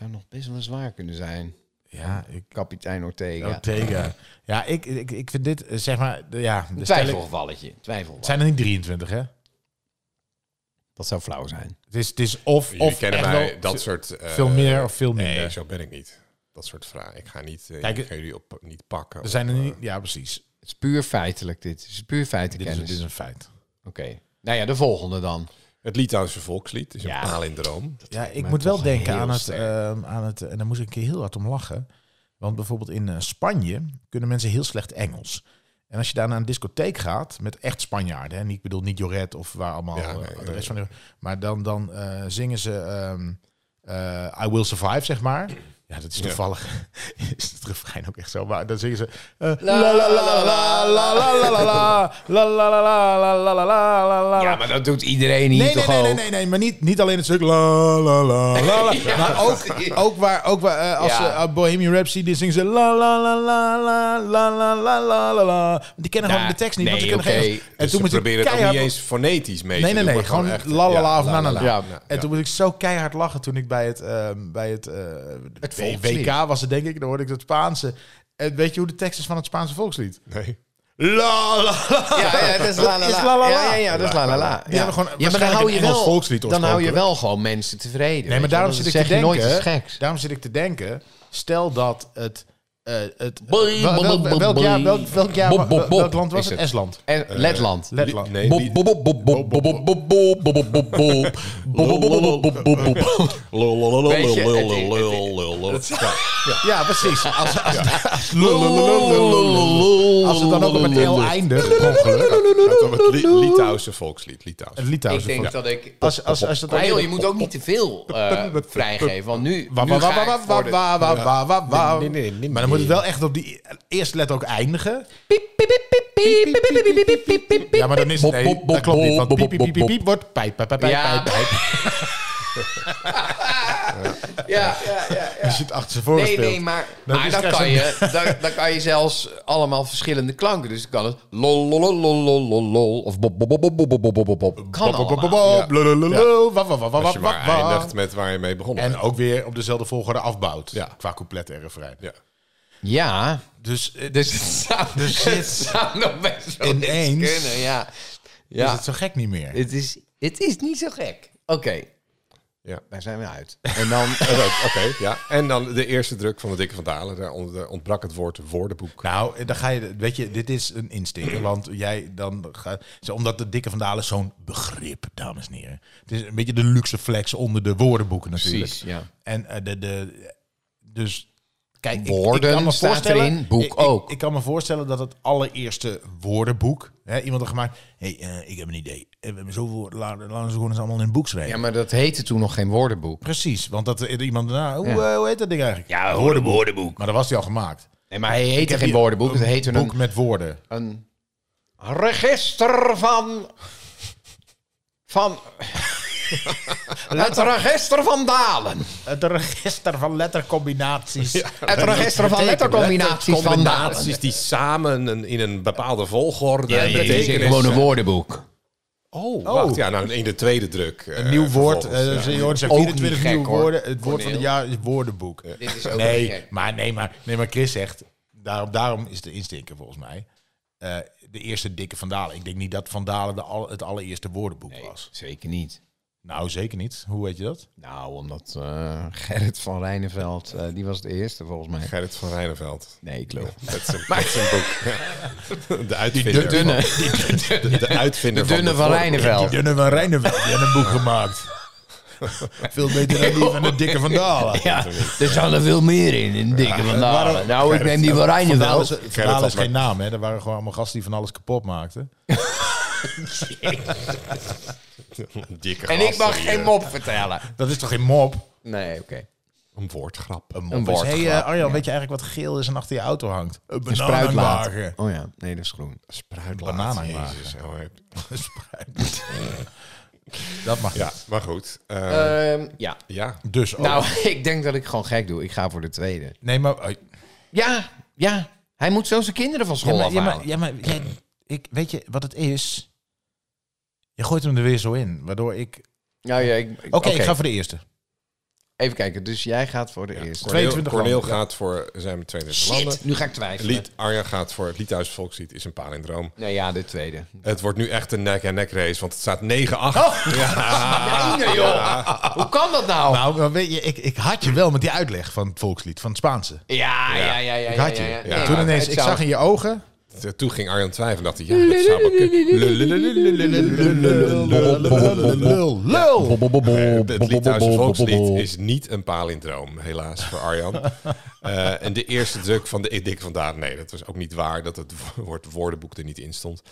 Speaker 4: zou nog best wel eens waar kunnen zijn.
Speaker 3: ja, ik.
Speaker 4: Kapitein Ortega.
Speaker 3: Nou, Ortega. Ja, ik, ik, ik vind dit eh, zeg maar. de- Ja, de
Speaker 4: Een
Speaker 3: stelling,
Speaker 4: twijfelgevalletje.
Speaker 3: het
Speaker 4: Twijfelgevalletje.
Speaker 3: zijn er niet 23, hè?
Speaker 4: Dat zou flauw zijn.
Speaker 3: Het is, het is of.
Speaker 2: Jullie
Speaker 3: of
Speaker 2: kennen
Speaker 3: echt
Speaker 2: mij
Speaker 3: wel
Speaker 2: dat soort... eh,
Speaker 3: Veel meer of veel minder.
Speaker 2: Nee, zo ben ik niet. Dat soort vragen. Ik ga niet... eh,
Speaker 3: Kijk,
Speaker 2: ik ga jullie op, niet pakken.
Speaker 3: er zijn er
Speaker 2: op, eh,
Speaker 3: niet. Ja, precies.
Speaker 4: Het is puur feitelijk dit. Het is puur
Speaker 3: Dit is,
Speaker 4: feitenkennis.
Speaker 3: dit is een feit.
Speaker 4: Oké. Nou ja, de volgende dan.
Speaker 2: Het Litouwse volkslied is een
Speaker 4: Ja.
Speaker 2: palindroom. Dus
Speaker 3: Ja, ik
Speaker 4: maar
Speaker 3: moet wel
Speaker 4: toch
Speaker 3: denken
Speaker 4: heel
Speaker 3: aan het,
Speaker 4: sterk.
Speaker 3: ehm, aan het... En daar moest ik een keer heel hard om lachen. Want bijvoorbeeld in eh, Spanje kunnen mensen heel slecht Engels. En als je daar naar een discotheek gaat met echt Spanjaarden... en ik bedoel niet Joret of waar allemaal
Speaker 2: Ja,
Speaker 3: eh,
Speaker 2: nee,
Speaker 3: de
Speaker 2: nee.
Speaker 3: rest van de... Maar dan, dan eh, zingen ze ehm, eh, I Will Survive, zeg maar. Ja, dat is toevallig. is het refrein ook echt zo. Maar dan zingen ze... eh, La la la la la la la la la la la la la la la la la la la
Speaker 4: Ja, maar dat doet iedereen hier
Speaker 3: Nee, nee,
Speaker 4: toch
Speaker 3: nee,
Speaker 4: ook?
Speaker 3: nee, nee, nee, maar niet, niet alleen het stuk la la la la la. Maar ook, ook waar, ook waar eh, als
Speaker 4: Ja.
Speaker 3: ze eh, Bohemian Rhapsody dit zingen ze la la la la la la la la la la la. Want Die kennen gewoon
Speaker 4: Ja,
Speaker 3: de tekst niet, want ze
Speaker 4: nee,
Speaker 3: kunnen geen
Speaker 4: oké.
Speaker 3: Engels. En
Speaker 2: En toen ze proberen het ook
Speaker 3: keihard-
Speaker 2: niet eens fonetisch mee
Speaker 3: Nee, nee,
Speaker 2: te doen,
Speaker 3: nee,
Speaker 2: maar
Speaker 3: gewoon
Speaker 2: echt-
Speaker 3: la la la
Speaker 2: ja,
Speaker 3: of na na na.
Speaker 4: Ja.
Speaker 3: En toen moest ik zo keihard lachen toen ik bij het, ehm, bij het, eh,
Speaker 4: volkslied.
Speaker 3: WK was het denk ik, dan hoorde ik dat Spaanse. En weet je hoe de tekst is van het Spaanse volkslied?
Speaker 2: Nee.
Speaker 3: La la la.
Speaker 4: Ja,
Speaker 3: (laughs)
Speaker 4: ja, dat is la la
Speaker 3: is
Speaker 4: la.
Speaker 3: la, la, la.
Speaker 4: Ja, ja, ja, dat is la la la.
Speaker 3: Die
Speaker 4: Ja.
Speaker 3: hebben gewoon
Speaker 4: ja, maar dan
Speaker 3: waarschijnlijk
Speaker 4: hou
Speaker 3: een
Speaker 4: je
Speaker 3: Engels
Speaker 4: wel
Speaker 3: volkslied
Speaker 4: Dan hou je
Speaker 3: oorspronkelijk.
Speaker 4: wel gewoon mensen tevreden.
Speaker 3: Nee, maar daarom
Speaker 4: zit
Speaker 3: zit ik te
Speaker 4: zeg je nooit
Speaker 3: denken.
Speaker 4: iets geks.
Speaker 3: Daarom zit ik te denken. Stel dat het eh, het,
Speaker 6: Boy,
Speaker 3: wel- wel-
Speaker 6: boy, boy,
Speaker 3: welk
Speaker 6: boy.
Speaker 3: jaar, welk, welk jaar,
Speaker 1: Bob, bob, bob
Speaker 3: welk land was
Speaker 1: is
Speaker 3: het?
Speaker 1: het.
Speaker 3: Estland.
Speaker 4: En Letland.
Speaker 3: Eh, Letland.
Speaker 2: Nee,
Speaker 1: Bob,
Speaker 2: die-
Speaker 1: bob, bob, bob, bob, bob, bob, bob, bob, bob, bob, bob, bob. Bob, bob, bob, bob, bob, bob, bob.
Speaker 4: Weet je, het- het-
Speaker 3: Ja, precies. Als, als, als- als het dan ook op een L eindigt, per ongeluk.
Speaker 2: Gaat om het Li- Litouwse volkslied. Litouws.
Speaker 3: Het Litouwse
Speaker 4: Ik denk
Speaker 3: volk.
Speaker 4: dat ik...
Speaker 3: Als, als, als dat
Speaker 4: Maar joh, je moet ook niet te veel eh,
Speaker 3: (laughs)
Speaker 4: vrijgeven, want nu,
Speaker 3: Wa-
Speaker 4: nu
Speaker 3: wa- wa-
Speaker 4: ga ik
Speaker 3: wa-
Speaker 4: voor
Speaker 3: wa-
Speaker 4: de-
Speaker 3: wa- wa- wa- wa- wa-
Speaker 2: Nee, nee, nee, nee.
Speaker 3: Maar dan moet het wel echt op die eerste letter ook eindigen. Ja, maar dan is het... Nee,
Speaker 1: Bob, bob,
Speaker 3: dat klopt niet. Want
Speaker 1: bob,
Speaker 3: piep,
Speaker 1: bob,
Speaker 3: piep, piep,
Speaker 1: bob.
Speaker 3: piep wordt pijp, pijp, pijp,
Speaker 4: Ja.
Speaker 3: pijp, pijp.
Speaker 4: Ja, ja, ja.
Speaker 3: Je zit achter zijn voorgespeeld.
Speaker 4: Nee, nee, maar,
Speaker 3: Dat
Speaker 4: maar
Speaker 3: is
Speaker 4: dan,
Speaker 3: stress-
Speaker 4: kan je, dan, dan kan je zelfs allemaal verschillende klanken. Dus dan kan het lol, lol, lol, lol, lol, lol, lol, Of bob, bob, bob, bob, bob, bob, bob, bob, bob. Kan
Speaker 3: Bob, bob, bob,
Speaker 4: allemaal.
Speaker 3: bob, lulululu, wa- wa- wa- wa-
Speaker 2: Als je
Speaker 3: wa-
Speaker 2: maar
Speaker 3: wa-
Speaker 2: eindigt met waar je mee begonnen
Speaker 3: En
Speaker 2: bent.
Speaker 3: ook weer op dezelfde volgorde afbouwt.
Speaker 2: Ja.
Speaker 3: Qua couplet en refrein.
Speaker 2: Ja.
Speaker 4: Ja,
Speaker 3: Dus eh,
Speaker 4: (laughs) dus het zou, het zou nog best wel eens
Speaker 3: Ineens.
Speaker 4: kunnen. Ja,
Speaker 3: is
Speaker 4: ja.
Speaker 3: het zo gek niet meer.
Speaker 4: Dus Het, is, het is niet zo gek. Oké,
Speaker 2: Ja.
Speaker 4: daar zijn we uit. En dan...
Speaker 2: (laughs) En ook- Oké, ja. En dan de eerste druk van de dikke van Dalen. Daar ont- daar ontbrak het woord woordenboek.
Speaker 3: Nou, eh, dan ga je, weet je, dit is een instinct. Want jij dan gaat, zo, omdat de dikke van Dalen is zo'n begrip, dames en heren. Het is een beetje de luxe flex onder de woordenboeken natuurlijk.
Speaker 4: Precies, ja.
Speaker 3: En eh, de, de, dus, kijk, ik-
Speaker 4: Woorden
Speaker 3: ik, kan me
Speaker 4: staat
Speaker 3: voorstellen,
Speaker 4: erin, boek
Speaker 3: ik- ik,
Speaker 4: ook.
Speaker 3: Ik kan me voorstellen dat het allereerste woordenboek, hè, iemand had gemaakt, hé, hey, eh, ik heb een idee. Eh, We hebben zoveel, woorden, laten laten we ze gewoon eens allemaal in een boek schrijven.
Speaker 4: Ja, maar dat heette toen nog geen woordenboek.
Speaker 3: Precies, want dat eh, iemand daarna, hoe, eh, hoe heet dat ding eigenlijk?
Speaker 4: Ja,
Speaker 3: woordenboek. Maar dat was die al gemaakt.
Speaker 4: Nee, maar hij heette geen
Speaker 3: hier
Speaker 4: woordenboek. Het heette
Speaker 3: Een boek
Speaker 4: een,
Speaker 3: met woorden.
Speaker 4: een register van... (laughs) Van... Het register van dalen.
Speaker 3: Het register van lettercombinaties.
Speaker 4: Het register van lettercombinaties van dalen.
Speaker 2: Combinaties die samen een- in een bepaalde volgorde
Speaker 4: Ja, je
Speaker 2: betekenis...
Speaker 4: zit gewoon een woordenboek.
Speaker 2: Oh, wacht. Ja, nou in de tweede druk.
Speaker 3: Een nieuw woord. eh
Speaker 2: vervolgens, ja.
Speaker 3: ze- Joris heeft
Speaker 4: Ook
Speaker 3: 24
Speaker 4: niet gek,
Speaker 3: nieuwe
Speaker 4: hoor.
Speaker 3: woorden. Het woord van het
Speaker 4: Corneel.
Speaker 3: jaar is woordenboek.
Speaker 4: Dit is ook niet
Speaker 3: Nee,
Speaker 4: gek.
Speaker 3: maar, nee, maar, nee, maar Chris zegt, daarom, daarom is de instinker volgens mij. eh, de eerste dikke Van Dalen. Ik denk niet dat Van Dalen de al- het allereerste woordenboek was.
Speaker 4: Zeker niet.
Speaker 3: Nou, zeker niet. Hoe weet je dat?
Speaker 4: Nou, omdat eh, Gerrit van Rijneveld, eh, die was de eerste volgens mij.
Speaker 2: Gerrit van Rijneveld.
Speaker 4: Nee, ik lul.
Speaker 2: Dat is een, dat is een boek.
Speaker 4: (laughs)
Speaker 2: Ja. De uitvinder.
Speaker 4: De dunne,
Speaker 2: van- De, de uitvinder
Speaker 4: de dunne
Speaker 2: de
Speaker 4: van
Speaker 2: woorden-
Speaker 3: Die
Speaker 4: Rijneveld.
Speaker 3: dunne van Rijnenveld heeft een boek (laughs) gemaakt. Veel beter dan die van de dikke Van Dalen.
Speaker 4: Ja, er zat er veel meer in, in dikke van Dalen. Nou, ik neem die van
Speaker 3: Van Dalen is,
Speaker 4: Rijneveld.
Speaker 3: Van
Speaker 2: Gerrit
Speaker 3: Dalen is
Speaker 2: had
Speaker 3: geen naam, hè? Er waren gewoon allemaal gasten die van alles kapot maakten.
Speaker 2: Dikke
Speaker 4: En ik
Speaker 2: gasten
Speaker 4: mag
Speaker 2: hier.
Speaker 4: geen mop vertellen.
Speaker 3: Dat is toch geen mop?
Speaker 4: Nee, oké.
Speaker 2: Een woordgrap.
Speaker 4: Een
Speaker 3: Dus, hey,
Speaker 4: woordgrap.
Speaker 3: eh, Arjan, weet je eigenlijk wat geel is en achter je auto hangt? Een
Speaker 4: Een spruitlaat.
Speaker 3: bananenwagen.
Speaker 4: Oh ja, nee, dat is groen.
Speaker 2: Spruitlaat.
Speaker 3: Bananenwagen.
Speaker 2: Jezus, oh, heb-
Speaker 3: Een (laughs) spruit. dat mag
Speaker 2: Ja,
Speaker 3: niet.
Speaker 2: maar goed. eh,
Speaker 4: ja.
Speaker 2: ja.
Speaker 3: Dus ook.
Speaker 4: (laughs) Nou, (laughs) ik denk dat ik gewoon gek doe. Ik ga voor de tweede.
Speaker 3: nee, maar... oh,
Speaker 4: Ja, ja. Hij moet zo zijn kinderen van
Speaker 3: ja,
Speaker 4: school
Speaker 3: maar, ja,
Speaker 4: afhalen.
Speaker 3: maar, ja, maar jij, ik, weet je wat het is? Je gooit hem er weer zo in, waardoor ik... Oké,
Speaker 4: Nou ja, ik- ik- Oké,
Speaker 3: ik ga voor de eerste.
Speaker 4: even kijken. Dus jij gaat voor de eerste.
Speaker 2: Corneel,
Speaker 3: 22
Speaker 2: Corneel
Speaker 3: landen, ja.
Speaker 2: gaat voor zijn 22 landen.
Speaker 4: Shit, nu ga ik twijfelen.
Speaker 2: Lied, Arja gaat voor het Liedhuis Volkslied is een palindroom.
Speaker 4: Nou ja, de tweede.
Speaker 2: Het wordt nu echt een nek-en-nek race, want het staat 9-8.
Speaker 4: Oh. Ah, joh. Hoe kan dat nou?
Speaker 3: Nou, maar weet je, ik, ik had je wel met die uitleg van het volkslied, van het Spaanse.
Speaker 4: Ja, ja, ja, ja.
Speaker 3: Ik
Speaker 4: ja,
Speaker 3: had je.
Speaker 4: ja, ja.
Speaker 3: Ja.
Speaker 4: Nee, maar
Speaker 3: Toen ineens,
Speaker 4: het
Speaker 3: ik
Speaker 4: zou-
Speaker 3: zag in je ogen...
Speaker 2: Ja. (laughs) Toen ging Arjan twijfelen en dacht hij, ja, dat zou ik...
Speaker 4: (laughs)
Speaker 3: Lul, lul.
Speaker 2: Het Liedhuis Volkslied is niet een palindroom, helaas voor
Speaker 3: (laughs)
Speaker 2: Arjan. Eh, en de eerste druk van de Dik van Daan, nee, dat was ook niet waar dat het woord woordenboek er niet in stond.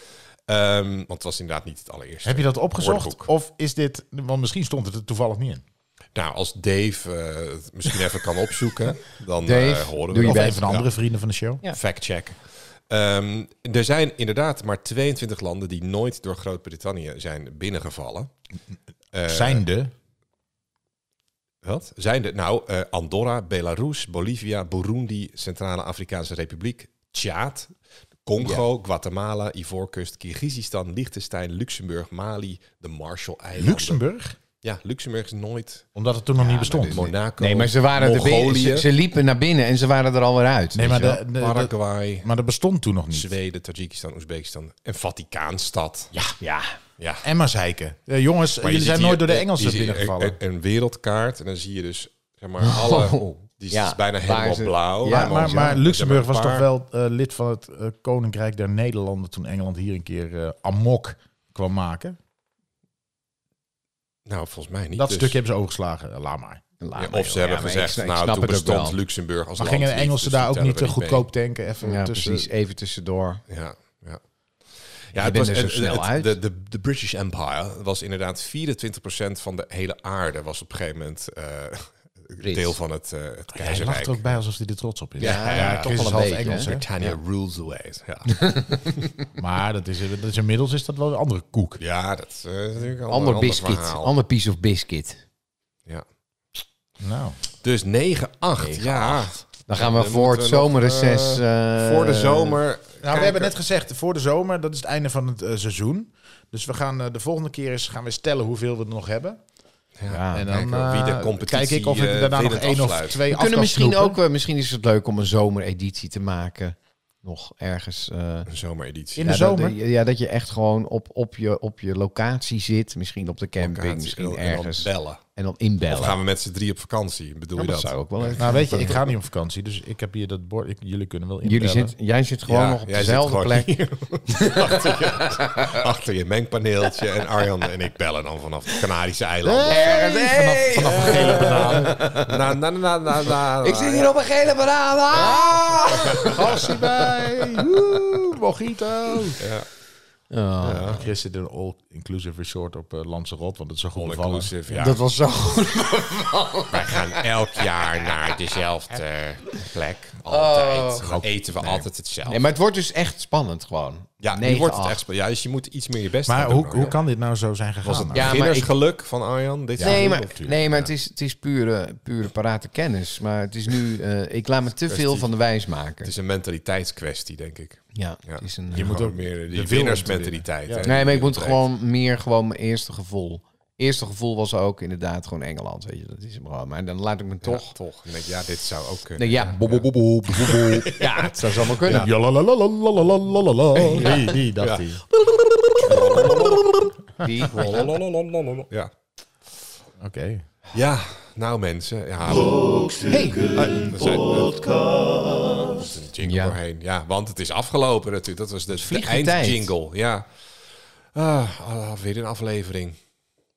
Speaker 2: Ehm, want het was inderdaad niet het allereerste.
Speaker 3: Heb je dat opgezocht?
Speaker 2: Woordenboek.
Speaker 3: Of is dit... Want misschien stond het er toevallig niet in.
Speaker 2: Nou, als Dave eh, het misschien even kan opzoeken, dan
Speaker 4: Dave,
Speaker 2: eh, horen we
Speaker 4: doe je
Speaker 2: dat.
Speaker 3: Of
Speaker 4: bent-
Speaker 3: een van de andere vrienden van de show.
Speaker 4: Ja.
Speaker 2: Fact check. Ehm, er zijn inderdaad maar 22 landen die nooit door Groot-Brittannië zijn binnengevallen.
Speaker 3: Zijn de...
Speaker 2: Wat? Zijn er nou eh, Andorra, Belarus, Bolivia, Burundi, Centrale Afrikaanse Republiek, Tjaad, Congo, Guatemala, Ivoorkust, Kyrgyzstan, Liechtenstein, Luxemburg, Mali, de Marshall-eilanden.
Speaker 3: Luxemburg?
Speaker 2: Ja, Luxemburg is nooit.
Speaker 3: Omdat het toen nog niet bestond.
Speaker 2: Monaco,
Speaker 4: Nee, maar ze waren er binnen.
Speaker 2: Mongolië,
Speaker 4: Ze, ze liepen naar binnen en ze waren er alweer uit.
Speaker 3: Nee,
Speaker 4: weet
Speaker 3: maar,
Speaker 4: je wel.
Speaker 3: de, Hmm. de- de-
Speaker 2: Paraguay,
Speaker 3: maar dat bestond toen nog niet.
Speaker 2: Zweden, Tajikistan, Oezbekistan en Vaticaanstad.
Speaker 3: Ja.
Speaker 4: Ja.
Speaker 2: ja.
Speaker 3: Emma zeiken. Eh, jongens,
Speaker 2: Maar je
Speaker 3: jullie
Speaker 2: ziet
Speaker 3: zijn
Speaker 2: hier-
Speaker 3: nooit door de
Speaker 2: eh,
Speaker 3: Engelsen
Speaker 2: je ziet
Speaker 3: binnengevallen. (laughs)
Speaker 2: Een, een wereldkaart en dan zie je dus zeg maar alle
Speaker 4: Oh.
Speaker 2: Die is
Speaker 4: Ja,
Speaker 2: dus bijna
Speaker 4: waar
Speaker 2: helemaal
Speaker 4: ze-
Speaker 2: blauw.
Speaker 4: Ja,
Speaker 3: maar, maar, maar Luxemburg was toch
Speaker 2: paar-
Speaker 3: wel eh, lid van het eh, Koninkrijk der Nederlanden toen Engeland hier een keer eh, amok kwam maken.
Speaker 2: Nou, volgens mij niet.
Speaker 3: dat
Speaker 2: dus.
Speaker 3: stukje hebben ze overgeslagen, eh, laat maar.
Speaker 2: Ja, of ze hebben gezegd, nou, toen bestond Luxemburg als
Speaker 3: Maar
Speaker 2: land
Speaker 3: gingen de
Speaker 2: niet,
Speaker 3: Engelsen
Speaker 2: dus die
Speaker 3: daar ook
Speaker 2: tellen
Speaker 3: niet
Speaker 2: we
Speaker 3: te goedkoop tanken? Even
Speaker 4: Ja,
Speaker 3: tussen.
Speaker 4: precies. Even tussendoor.
Speaker 2: mee. Ja, ja.
Speaker 4: Je
Speaker 2: Ja, het
Speaker 4: bent
Speaker 2: was,
Speaker 4: er zo
Speaker 2: het-
Speaker 4: snel
Speaker 2: het-
Speaker 4: uit.
Speaker 2: De, de, de British Empire was inderdaad 24% van de hele aarde. Was op een gegeven moment eh,
Speaker 4: Brits.
Speaker 2: deel van het, eh, het
Speaker 3: Ja, hij lacht
Speaker 2: keizerrijk.
Speaker 3: er ook bij alsof hij er trots op is.
Speaker 2: Ja, ja, toch
Speaker 3: Chris
Speaker 4: wel
Speaker 3: is
Speaker 4: een
Speaker 3: half
Speaker 4: beetje,
Speaker 3: Engels,
Speaker 4: hè?
Speaker 3: hè?
Speaker 2: Britannia rules the waves. Ja,
Speaker 3: Maar dat is, eh, dat is, inmiddels is dat wel een andere koek.
Speaker 2: ja dat is eh, natuurlijk al
Speaker 4: Ander
Speaker 2: een ander
Speaker 4: biscuit.
Speaker 2: verhaal.
Speaker 4: Ander piece of biscuit.
Speaker 2: Ja.
Speaker 3: Nou,
Speaker 2: Dus 9-8. Ja,
Speaker 4: Dan gaan we
Speaker 2: Dan
Speaker 4: voor het
Speaker 2: moeten we nog,
Speaker 4: zomerreces... eh,
Speaker 2: voor de zomer. kijken.
Speaker 3: nou we hebben net gezegd, voor de zomer, dat is het einde van het eh, seizoen. Dus we gaan eh, de volgende keer eens gaan we stellen hoeveel we er nog hebben.
Speaker 4: Ja.
Speaker 3: en
Speaker 2: Ah, kijken
Speaker 3: dan
Speaker 2: wie de
Speaker 3: eh,
Speaker 2: competitie,
Speaker 3: kijk ik of ik
Speaker 2: eh,
Speaker 3: daarna nog
Speaker 2: winnend
Speaker 3: één of
Speaker 2: afsluit.
Speaker 3: twee
Speaker 4: We kunnen
Speaker 3: af kan
Speaker 4: misschien
Speaker 3: snoepen.
Speaker 4: ook... eh, misschien is het leuk om een zomereditie te maken. Nog ergens... eh,
Speaker 2: Een zomereditie.
Speaker 3: In de
Speaker 4: ja, dat-
Speaker 3: zomer?
Speaker 4: Dat, ja, dat je echt gewoon op, op, je, op je locatie zit. Misschien op de camping,
Speaker 2: Locatie, oh,
Speaker 4: misschien
Speaker 2: en dan
Speaker 4: ergens.
Speaker 2: Bellen.
Speaker 4: En dan
Speaker 2: Of
Speaker 4: inbellen.
Speaker 2: gaan we met z'n drie op vakantie? Bedoel
Speaker 4: Ja,
Speaker 2: je
Speaker 4: dat
Speaker 2: dat?
Speaker 4: zou ook wel even-
Speaker 3: Nou weet je, ik ga niet op vakantie, dus ik heb hier dat bord. ik- jullie kunnen wel inbellen.
Speaker 4: Jullie zit, jij zit gewoon
Speaker 2: Ja,
Speaker 4: nog op
Speaker 2: jij zit
Speaker 4: dezelfde
Speaker 2: gewoon
Speaker 4: plek.
Speaker 2: hier. achter, je, achter je mengpaneeltje. En Arjan en ik bellen dan vanaf de Canarische eilanden.
Speaker 4: Ergens, hey!
Speaker 3: Vanaf een gele banaan.
Speaker 2: Na, na, na, na, na.
Speaker 4: Ik zit hier op een gele banaan. Ah!
Speaker 3: Gassie bij. Woe, mojito.
Speaker 4: Oh,
Speaker 3: Ja. Chris zit in een all-inclusive resort op eh Lanzarote, want het is zo goed bevallen.
Speaker 2: All-inclusive, ja.
Speaker 4: Dat was zo.
Speaker 2: Wij gaan elk jaar naar dezelfde plek. Altijd. Dan eten we altijd hetzelfde.
Speaker 4: Oh. Nee, maar het wordt dus echt spannend gewoon.
Speaker 2: ja, nu
Speaker 4: 9-8.
Speaker 2: wordt het echt spe- Ja, dus je moet iets meer je best gaan
Speaker 3: Maar
Speaker 2: doen,
Speaker 3: hoe,
Speaker 2: Arjan.
Speaker 3: hoe kan dit nou zo zijn gegaan?
Speaker 2: Was het
Speaker 4: Ja, maar
Speaker 2: beginnersgeluk van Arjan? Dit
Speaker 4: nee,
Speaker 2: seizoen,
Speaker 4: maar,
Speaker 2: of-
Speaker 4: nee, maar het is, het is pure, pure parate kennis. Maar het is nu... eh, ik laat me te veel van de wijs
Speaker 2: Het
Speaker 4: maken.
Speaker 2: is een mentaliteitskwestie, denk ik.
Speaker 4: Ja,
Speaker 2: Ja.
Speaker 4: het is een... eh,
Speaker 2: Je moet ook meer die winnersmentaliteit. hè.
Speaker 4: Nee, maar ik moet gewoon meer gewoon mijn eerste gevoel. Eerste gevoel was ook inderdaad gewoon Engeland, weet je. Dat is hem gewoon. Maar dan laat ik me
Speaker 2: Ja,
Speaker 4: toch...
Speaker 2: toch. Ik denk, ja, dit zou ook kunnen.
Speaker 4: Nee, ja, bo- bo- bo- bo- bo- bo- bo. ja, het zou zomaar kunnen.
Speaker 3: Ja, la, la, la, la, la, la, la, la, la. Die, die dacht hij.
Speaker 4: Die-
Speaker 2: Ja.
Speaker 3: Oké.
Speaker 2: ja, nou mensen. Ja. Hey. podcast. Een jingle
Speaker 4: Ja.
Speaker 2: doorheen. Ja, want het is afgelopen natuurlijk. Dat was de, de
Speaker 4: vliegt de tijd.
Speaker 2: eindjingle. Ja. Ah, ah, weer een aflevering.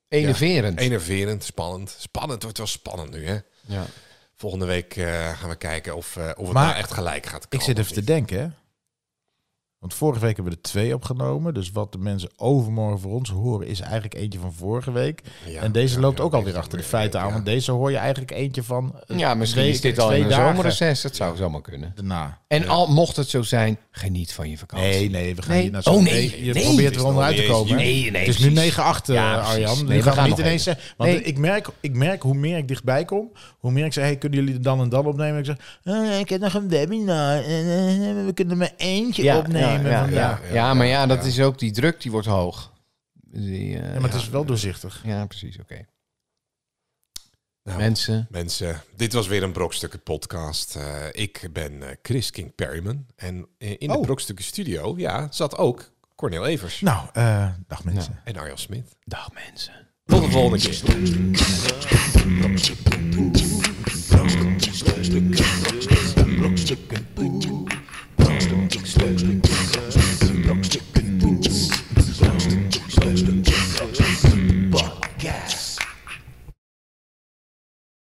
Speaker 4: Enerverend.
Speaker 2: Enerverend, spannend. Spannend, het wordt wel spannend nu hè.
Speaker 4: Ja.
Speaker 2: Volgende week eh, gaan we kijken of, eh, of het
Speaker 3: Maar
Speaker 2: nou echt gelijk gaat
Speaker 3: Ik
Speaker 2: komen
Speaker 3: zit
Speaker 2: of
Speaker 3: even te
Speaker 2: niet.
Speaker 3: denken, hè. Want vorige week hebben we er twee opgenomen. Dus wat de mensen overmorgen voor ons horen is eigenlijk eentje van vorige week.
Speaker 2: Ja,
Speaker 3: en deze
Speaker 2: ja,
Speaker 3: loopt
Speaker 2: ja,
Speaker 3: ook
Speaker 2: deze
Speaker 3: alweer achter de
Speaker 2: weer,
Speaker 3: feiten aan.
Speaker 2: ja.
Speaker 3: Want deze hoor je eigenlijk eentje van eh,
Speaker 4: ja, misschien
Speaker 3: twee-
Speaker 4: is dit al
Speaker 3: twee
Speaker 4: in een
Speaker 3: dagen
Speaker 4: zomerreces. Dat zou zomaar kunnen.
Speaker 3: Daarna.
Speaker 4: En al mocht het zo zijn, geniet van je vakantie.
Speaker 3: Nee, nee, we gaan
Speaker 4: Nee.
Speaker 3: hier naar
Speaker 4: Oh,
Speaker 3: zo'n-
Speaker 4: nee,
Speaker 3: Je
Speaker 4: nee. Oh,
Speaker 3: probeert er
Speaker 2: nog
Speaker 3: onderuit
Speaker 2: niet
Speaker 3: te
Speaker 2: eens
Speaker 3: komen.
Speaker 2: juni.
Speaker 4: Nee, nee,
Speaker 3: Het is nu 9-8,
Speaker 4: precies.
Speaker 3: eh,
Speaker 4: Ja, precies.
Speaker 3: Arjan.
Speaker 4: Nee,
Speaker 3: Nu
Speaker 4: we
Speaker 3: gaan we
Speaker 4: gaan
Speaker 3: niet
Speaker 4: nog
Speaker 3: ineens
Speaker 4: even.
Speaker 3: zeggen. Want
Speaker 4: Nee.
Speaker 3: ik, merk, ik merk hoe meer ik dichtbij kom, hoe meer ik zeg: hey, kunnen jullie er dan en dan opnemen? Ik zeg: eh, ik heb nog een webinar. en, eh, we kunnen er maar eentje opnemen.
Speaker 4: Ja, ja,
Speaker 3: vandaag.
Speaker 4: ja. Ja, maar ja, dat is ook die druk, die wordt hoog. Die, eh,
Speaker 3: Ja, maar het is wel doorzichtig.
Speaker 4: ja, precies, oké.
Speaker 2: Nou,
Speaker 4: Mensen,
Speaker 2: Mensen, dit was weer een Brokstukken podcast. Eh, ik ben eh, Chris King Perryman. En eh, in de
Speaker 3: Oh.
Speaker 2: Brokstukken studio ja, zat ook Cornel Evers
Speaker 3: Nou, eh, dag mensen.
Speaker 2: en Arjan Smit.
Speaker 4: dag mensen.
Speaker 2: Tot de volgende
Speaker 3: (laughs)
Speaker 2: keer.
Speaker 7: Brokstukken, brokstukken, poeh.